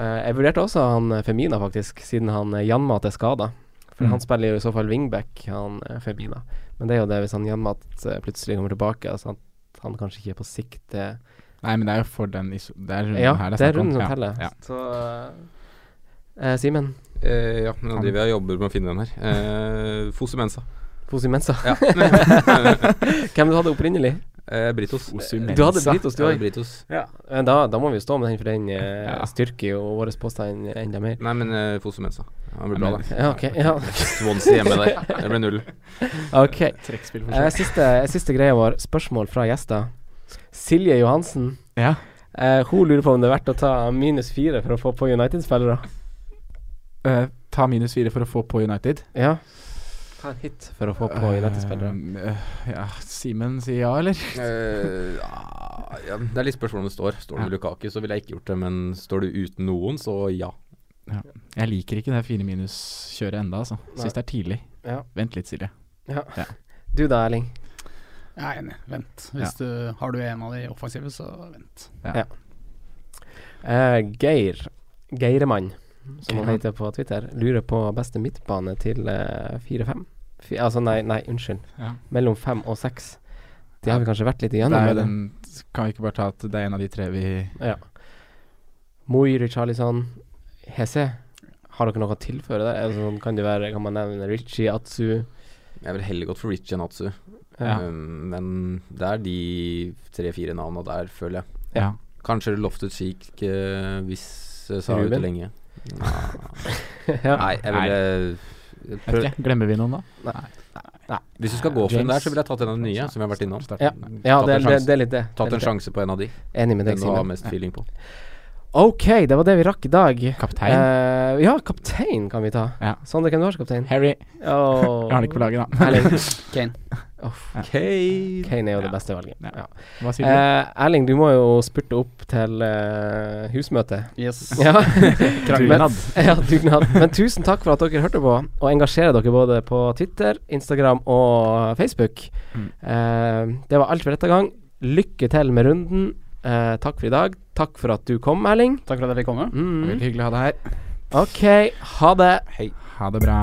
C: Eh, jeg vurderte også han eh, Femina, faktisk, siden han eh, Janmat er skada. For
E: Mm.
C: han spiller jo i så fall wingback, han eh, Femina. Men det er jo det hvis han Janmat eh, plutselig kommer tilbake, altså at han kanskje ikke er på sikt eh,
E: Nei, men det er jo for den iso... Det er runden
C: Ja,
E: her
C: det er
E: snakk om.
C: runden som
E: Ja,
C: teller.
E: Ja.
C: Så eh, eh, Simen,
F: Eh, ja, men nå driver jeg og jobber med å finne den her. Eh, Fosu Mensa.
C: Fosi Mensa.
F: Ja.
C: Hvem du hadde opprinnelig?
F: eh, Britos.
C: Du hadde Britos, du
F: Ja,
C: òg.
F: Britos.
C: Eh, Da, da må vi jo stå med den, for den eh,
E: Ja.
C: styrker jo vår påstand enda mer.
F: Nei, men eh, Fosu Mensa. Han blir bra, da.
C: Ja, ok. Ja.
F: Swansea hjemme der. Det ble null.
C: Ok.
E: Trekkspill
C: Eh, siste, siste greia vår, spørsmål fra gjester. Silje Johansen.
E: Ja.
C: Eh, hun lurer på om det er verdt å ta minus fire for å få på United-spillere.
E: Eh, ta minus fire for å få på United.
C: Ja. Ta en hit for å få på United-spillere.
E: Eh, eh, ja, Simen sier ja, eller?
F: Eh, ah, ja, det er litt spørsmål om det står. Står det Lukaku, så ville jeg ikke gjort det. Men står du uten noen, så ja.
E: Jeg liker ikke det fire minus-kjøret enda, altså.
C: Nei.
E: Syns det er tidlig.
C: Ja.
E: Vent litt, Silje.
C: Du da, Erling?
G: Jeg er enig. Vent. Hvis du har du en av de offensive, så vent.
C: Ja. Eh, Geir Geiremann, som han
G: Geiremann.
C: heter på Twitter, lurer på beste midtbane til eh, 4-5. Fi- altså, nei, nei, unnskyld.
E: Ja.
C: Mellom 5 og 6. Det har vi kanskje vært litt
E: Det
C: igjennom.
E: er
C: eller?
E: den- Kan vi ikke bare ta at det er en av de tre vi
C: Ja. Moi, Richarlison, Hese. Har dere noe å tilføre der? Altså, sånn, kan, det være, kan man nevne Richie, Atsu?
F: Jeg ville heller gått for Richie enn Atsu.
C: Ja.
F: Um, men det er de tre-fire navna der, føler jeg.
E: Ja.
F: Kanskje Loftet Cheek eh, hvis eh, Sara er
E: Ruben?
F: ute lenge.
E: Ja.
F: Nei, jeg ville
E: Vet ikke, Glemmer vi noen, da?
C: Nei.
F: Hvis du skal gå for en
C: James.
F: der, så ville jeg tatt en av de
E: Sånn
F: nye, som vi har vært innom.
C: Ja, ja
F: Tatt
C: det,
F: en
C: det,
F: sjanse.
C: det er litt det.
F: Tatt
C: Det er
F: en
C: litt det.
F: sjanse på en av de.
C: Enig med deg,
F: Den du har
C: Simen.
F: mest feeling på.
C: Ok, det var det vi rakk i dag.
E: Kaptein?
C: Eh, ja, kaptein kan vi ta.
E: Ja.
C: Sondre, hvem du har som kaptein?
E: Harry.
C: Åh.
E: Jeg har det ikke på laget, da.
C: Erling.
E: Kane.
C: Uff.
E: Ja.
C: Kane. er jo det beste valget. Ja.
E: Hva sier du?
C: Eh, Erling, du må jo spurte opp til eh, husmøtet.
H: Yes.
C: Ja.
E: Dugnad.
C: Men, ja, dugnad. Men tusen takk for at dere hørte på og engasjerer dere både på Twitter, Instagram og Facebook. Eh, det var alt for dette gang. Lykke til med runden. Eh, takk for i dag. Takk for at du kom, Erling.
H: Takk for at jeg fikk komme.
C: Mm.
E: Veldig hyggelig å ha deg her.
C: OK, ha det.
E: Ha det bra.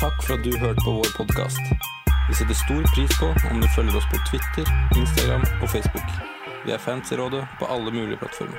F: Takk for at du hørte på vår podkast. Vi setter stor pris på om du følger oss på Twitter, Instagram og Facebook. Vi er fans i rådet på alle mulige plattformer.